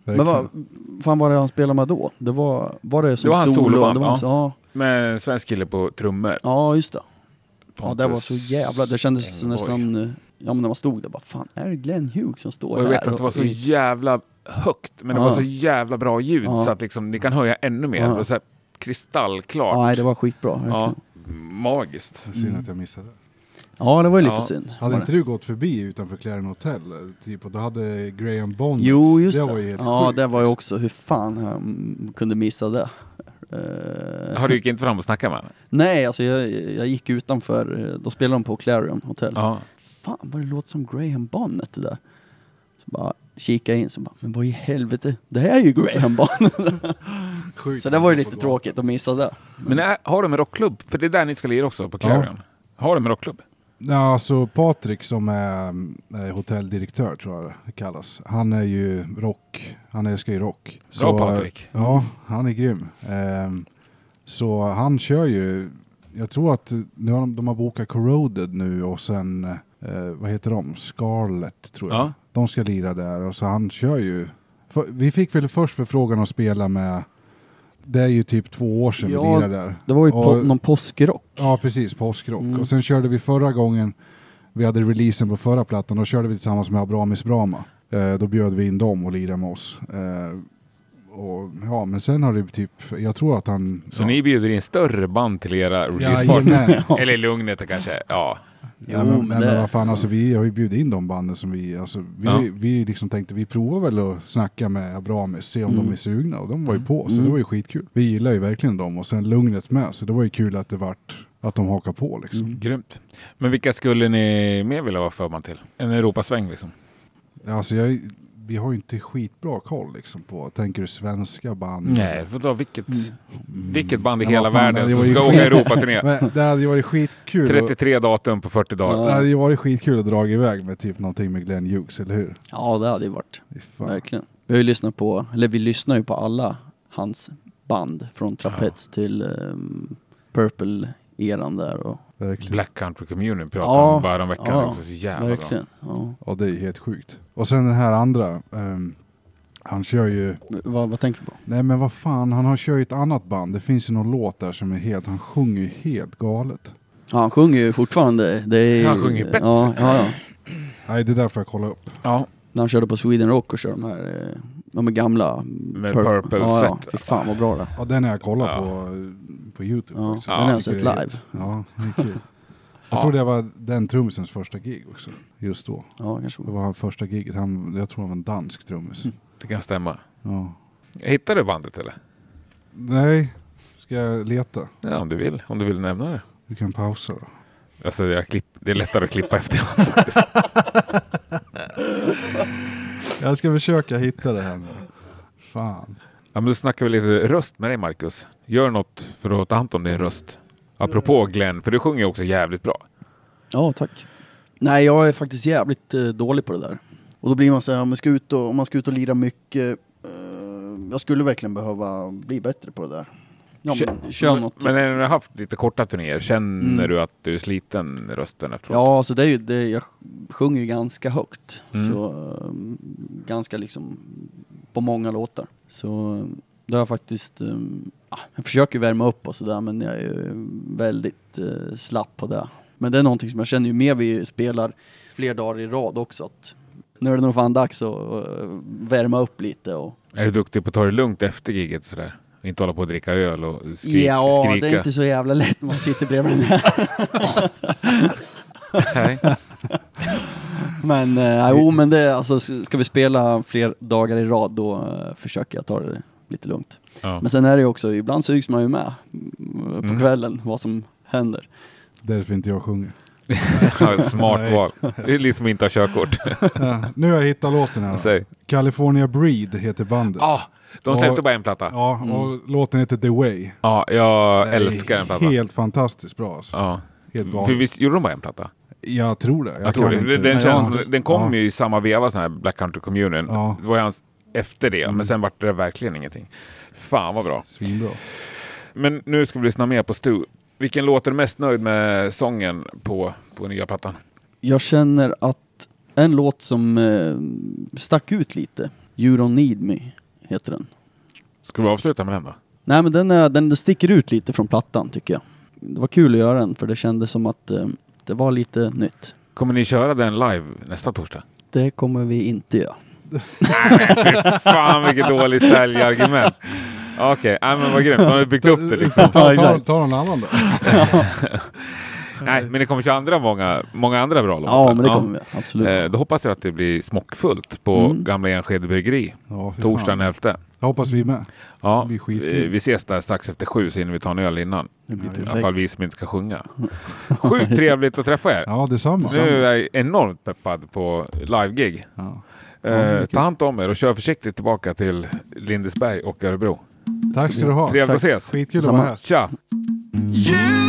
B: Men
C: verkligen.
B: vad fan var det han spelade med då? Det var, var det som
A: Det var hans soloband,
B: Det var hans- ja.
A: Med en svensk kille på trummor.
B: ja, just det. Ja,
A: Pontus
B: det var så jävla... Det kändes
A: Engborg.
B: nästan... eh, Ja, men när man stod där bara, fan är det Glenn Hughes som står
A: Och jag
B: här?
A: vet att det var så
B: Och-
A: jävla högt, men det
B: Ja.
A: var så jävla bra ljud
B: Ja.
A: så att liksom, ni kan höja ännu mer.
B: Ja.
A: Det var så här kristallklart.
B: Ja, nej, det var skitbra.
A: Ja,
B: verkligen.
A: magiskt.
B: Mm.
C: Synd att jag missade.
B: ja, det var ju lite
A: Ja.
B: synd.
C: Hade
B: Var
C: inte
B: det.
C: du gått förbi utanför Claren Hotel? eh, Typ, och då hade Graham Bond.
B: Jo, just
C: det.
B: det.
C: var ju helt
B: ja,
C: sjukt. alltså.
B: det var ju också, hur fan jag mm, kunde missa det. Eh,
A: Har du gick inte fram och snackat med honom?
B: Nej, alltså jag, jag gick utanför, eh, då spelade de på Clarion Hotel.
A: Ja.
B: Fan vad det låter som Graham Bonnet det där. Så bara kika in, så bara, men vad i helvete, det här är ju Graham
C: [LAUGHS]
B: Bonnet.
C: Sjukt.
B: så det var ju lite tråkigt att missa det.
A: Men är, har de en rockklubb? För det är där ni ska lira också, på Clarion. Har de en rockklubb?
C: Ja, alltså Patrik som är eh, hotelldirektör tror jag det kallas. Han är ju rock. Han älskar ju rock.
A: Bra
C: eh,
A: Patrik.
C: Ja, han är grym. Ehm, så han kör ju, jag tror att nu har de, de har bokat Corroded nu och sen, eh, vad heter de, Scarlet tror jag.
A: Ja.
C: De ska lira där och så han kör ju. För, vi fick väl först förfrågan att spela med, det är ju typ två år sedan
B: Ja,
C: vi lirade där.
B: Det var ju på,
C: Och-
B: någon påskrock.
C: Ja, precis. Påskrock.
B: Mm.
C: Och sen körde vi förra gången, vi hade releasen på förra plattan, då körde vi tillsammans med Abramis Brama. Eh, då bjöd vi in dem och lirade med oss. Eh, och, ja, men sen har det typ, jag tror att han...
A: Så
C: ja,
A: ni bjuder in större band till era releaseparty?
C: Jajamän.
A: Eller Lugnet kanske? Ja.
B: Jo,
C: Nej, men,
B: men
C: nej,
B: det-
C: men vad fan, alltså, vi har ju bjudit in de banden som vi... Alltså, vi,
A: Ja.
C: vi liksom tänkte vi provar väl att snacka med Abramis, se om de är sugna. Och de var ju på, så det var ju skitkul. Vi gillar ju verkligen dem och sen Lugnet med, så det var ju kul att det vart... Att de hakar på liksom.
A: Grymt. Men vilka skulle ni mer vilja vara förband till? En Europasväng liksom?
C: Alltså jag, vi har ju inte skitbra koll liksom på, tänker du svenska band?
B: Mm.
A: Nej, du får ta vilket, vilket band i
C: Men
A: hela
C: vad fan,
A: världen
C: det
A: som
C: var
B: [LAUGHS]
C: ju
A: ska
C: skit.
A: åka Europaturné.
C: Men det hade ju varit skitkul. att-
A: 33 datum på 40 dagar.
C: Det hade ju varit skitkul att dra iväg med typ någonting med Glenn Hughes, eller hur?
B: Ja, det hade ju varit.
C: Fy fan.
B: Verkligen. Vi har ju lyssnat på, eller vi lyssnar ju på alla hans band. Från Trapets till ehm, Purple-eran där och...
C: Verkligen.
A: Black Country Communion pratar
B: Ja,
A: om bara om veckan.
B: ja,
A: också. Så jävla bra.
B: Verkligen. Ja.
C: Ja, det är ju helt sjukt. Och sen den här andra, ehm, han kör ju,
B: Men Vad, vad tänker du på?
C: nej men vad fan, han har kör ju ett annat band. Det finns ju någon låt där som är helt, han sjunger ju helt galet.
B: Ja, han sjunger ju fortfarande. Det är,
A: Han sjunger bättre.
B: Ja, ja, ja.
C: Nej, det där får jag kolla upp.
A: Ja,
B: När han körde på Sweden Rock och körde de här eh, de här gamla...
A: Med
B: Purp-
A: Purple
B: ja, ja.
A: set.
B: Fy fan vad bra det
C: Ja, den har jag kollat
A: Ja.
C: på, eh, på Youtube
B: ja.
C: också.
B: Den har jag
C: tycker
B: sett
C: det är
B: live.
C: helt- Ja, det är
B: [LAUGHS]
C: kul. Jag tror det var den trummisens första gig också, just då.
B: Ja, kanske.
C: Det var han första giget, han, jag tror han var en dansk trummis.
B: Mm.
A: det kan stämma.
C: Ja.
A: Hittar du bandet eller?
C: Nej, ska jag leta?
A: Ja, om du vill. Om du vill nämna det.
C: Du kan pausa då.
A: Alltså, jag klipp, det är lättare att klippa [LAUGHS] efter.
C: Jag ska försöka hitta det här nu. Fan.
A: Ja, men du snackar väl lite röst med dig, Marcus? Gör något för att ta hand om din röst. Apropå
B: Mm.
A: Glenn, för du sjunger ju också jävligt bra.
B: Ja, tack. Nej, jag är faktiskt jävligt eh, dålig på det där. Och då blir man så här, om man ska ut och, om man ska ut och lira mycket, eh, jag skulle verkligen behöva bli bättre på det där. Ja, men, kör något. Mm.
A: Men när du har haft lite korta turnéer, känner du att du är sliten i rösten efteråt?
B: Ja, alltså det är ju det, jag sjunger ju ganska högt.
A: Mm.
B: Så, ehm, ganska liksom på många låtar. Så ehm, det har jag faktiskt, ehm, ah, jag försöker värma upp och sådär men jag är ju väldigt eh, slapp på det. Men det är någonting som jag känner ju mer vi spelar fler dagar i rad också att nu är det nog fan dags att eh, värma upp lite och
A: Är du duktig på att ta det lugnt efter giget sådär? Inte hålla på att dricka öl och skri-
B: Ja,
A: skrika?
B: det är inte så jävla lätt när man sitter bredvid den här.
A: [LAUGHS] Nej.
B: Men, eh, jo, men det, alltså, s- ska vi spela fler dagar i rad då eh, försöker jag ta det lite lugnt.
A: Ja.
B: Men sen är det ju också, ibland sugs man ju med mm, på
A: Mm.
B: kvällen vad som händer.
C: Därför inte jag sjunger.
A: [LAUGHS] Ja, Smart val. Det är liksom inte ha [LAUGHS] körkort.
C: Ja, nu har jag hittat låten här. då.
A: Säg.
C: California Breed heter bandet.
A: Ah, de släppte
C: Och-
A: bara en platta. Ja,
C: Ja, och låten heter The Way.
A: jag
C: Det är
A: älskar den plattan.
C: Helt fantastiskt bra alltså.
A: Ja.
C: Helt
A: För
C: galet.
A: visst gjorde de bara en platta?
C: Jag tror det.
A: Jag, tror
C: kan
A: det.
C: inte-
A: Den,
C: Ja.
A: känns, den kom
C: Ja.
A: ju i samma veva, sån här Black Country Communion.
C: Ja.
A: Det var ju hans efter det. Men sen vart det verkligen ingenting. Fan vad bra. [LAUGHS]
C: Svinbra.
A: Men nu ska vi lyssna mer på Stu. Vilken låt är du mest nöjd med sången på, på nya plattan?
B: Jag känner att en låt som eh, stack ut lite, You Don't Need Me, heter den.
A: Ska vi avsluta med den då?
B: Nej men den, är, den, den sticker ut lite från plattan tycker jag. Det var kul att göra den för det kändes som att eh, det var lite nytt.
A: Kommer ni köra den live nästa torsdag?
B: Det kommer vi inte göra.
A: Fan vilket dåligt säljargument. Okej, nej, men vad grymt. De har ju byggt upp det liksom.
C: Ta, ta, ta någon annan då.
A: Nej, men det kommer köra många, många andra bra låtar.
B: Ja men det kommer vi absolut. Mm.
A: Eh, Då hoppas jag att det blir smockfullt på Gamla Enskede Bryggeri
C: Ja, fy fan.
A: torsdagen 11.
C: Jag hoppas vi är med.
A: Ja,
C: blir skitkul.
A: eh, vi ses där strax efter sju så hinner vi ta en öl innan.
B: Det blir
A: I
B: perfekt.
A: alla fall vi som inte ska
B: [LAUGHS]
A: sjunga. Sjukt trevligt att träffa er.
C: Ja, detsamma.
A: Nu är jag enormt peppad på live-gig.
C: Ja.
A: Eh, ta hand om er och kör försiktigt tillbaka till Lindesberg och Örebro.
C: Tack ska du ha.
A: Trevligt att ses.
C: Skitkul att vara här.
A: Tja!
D: You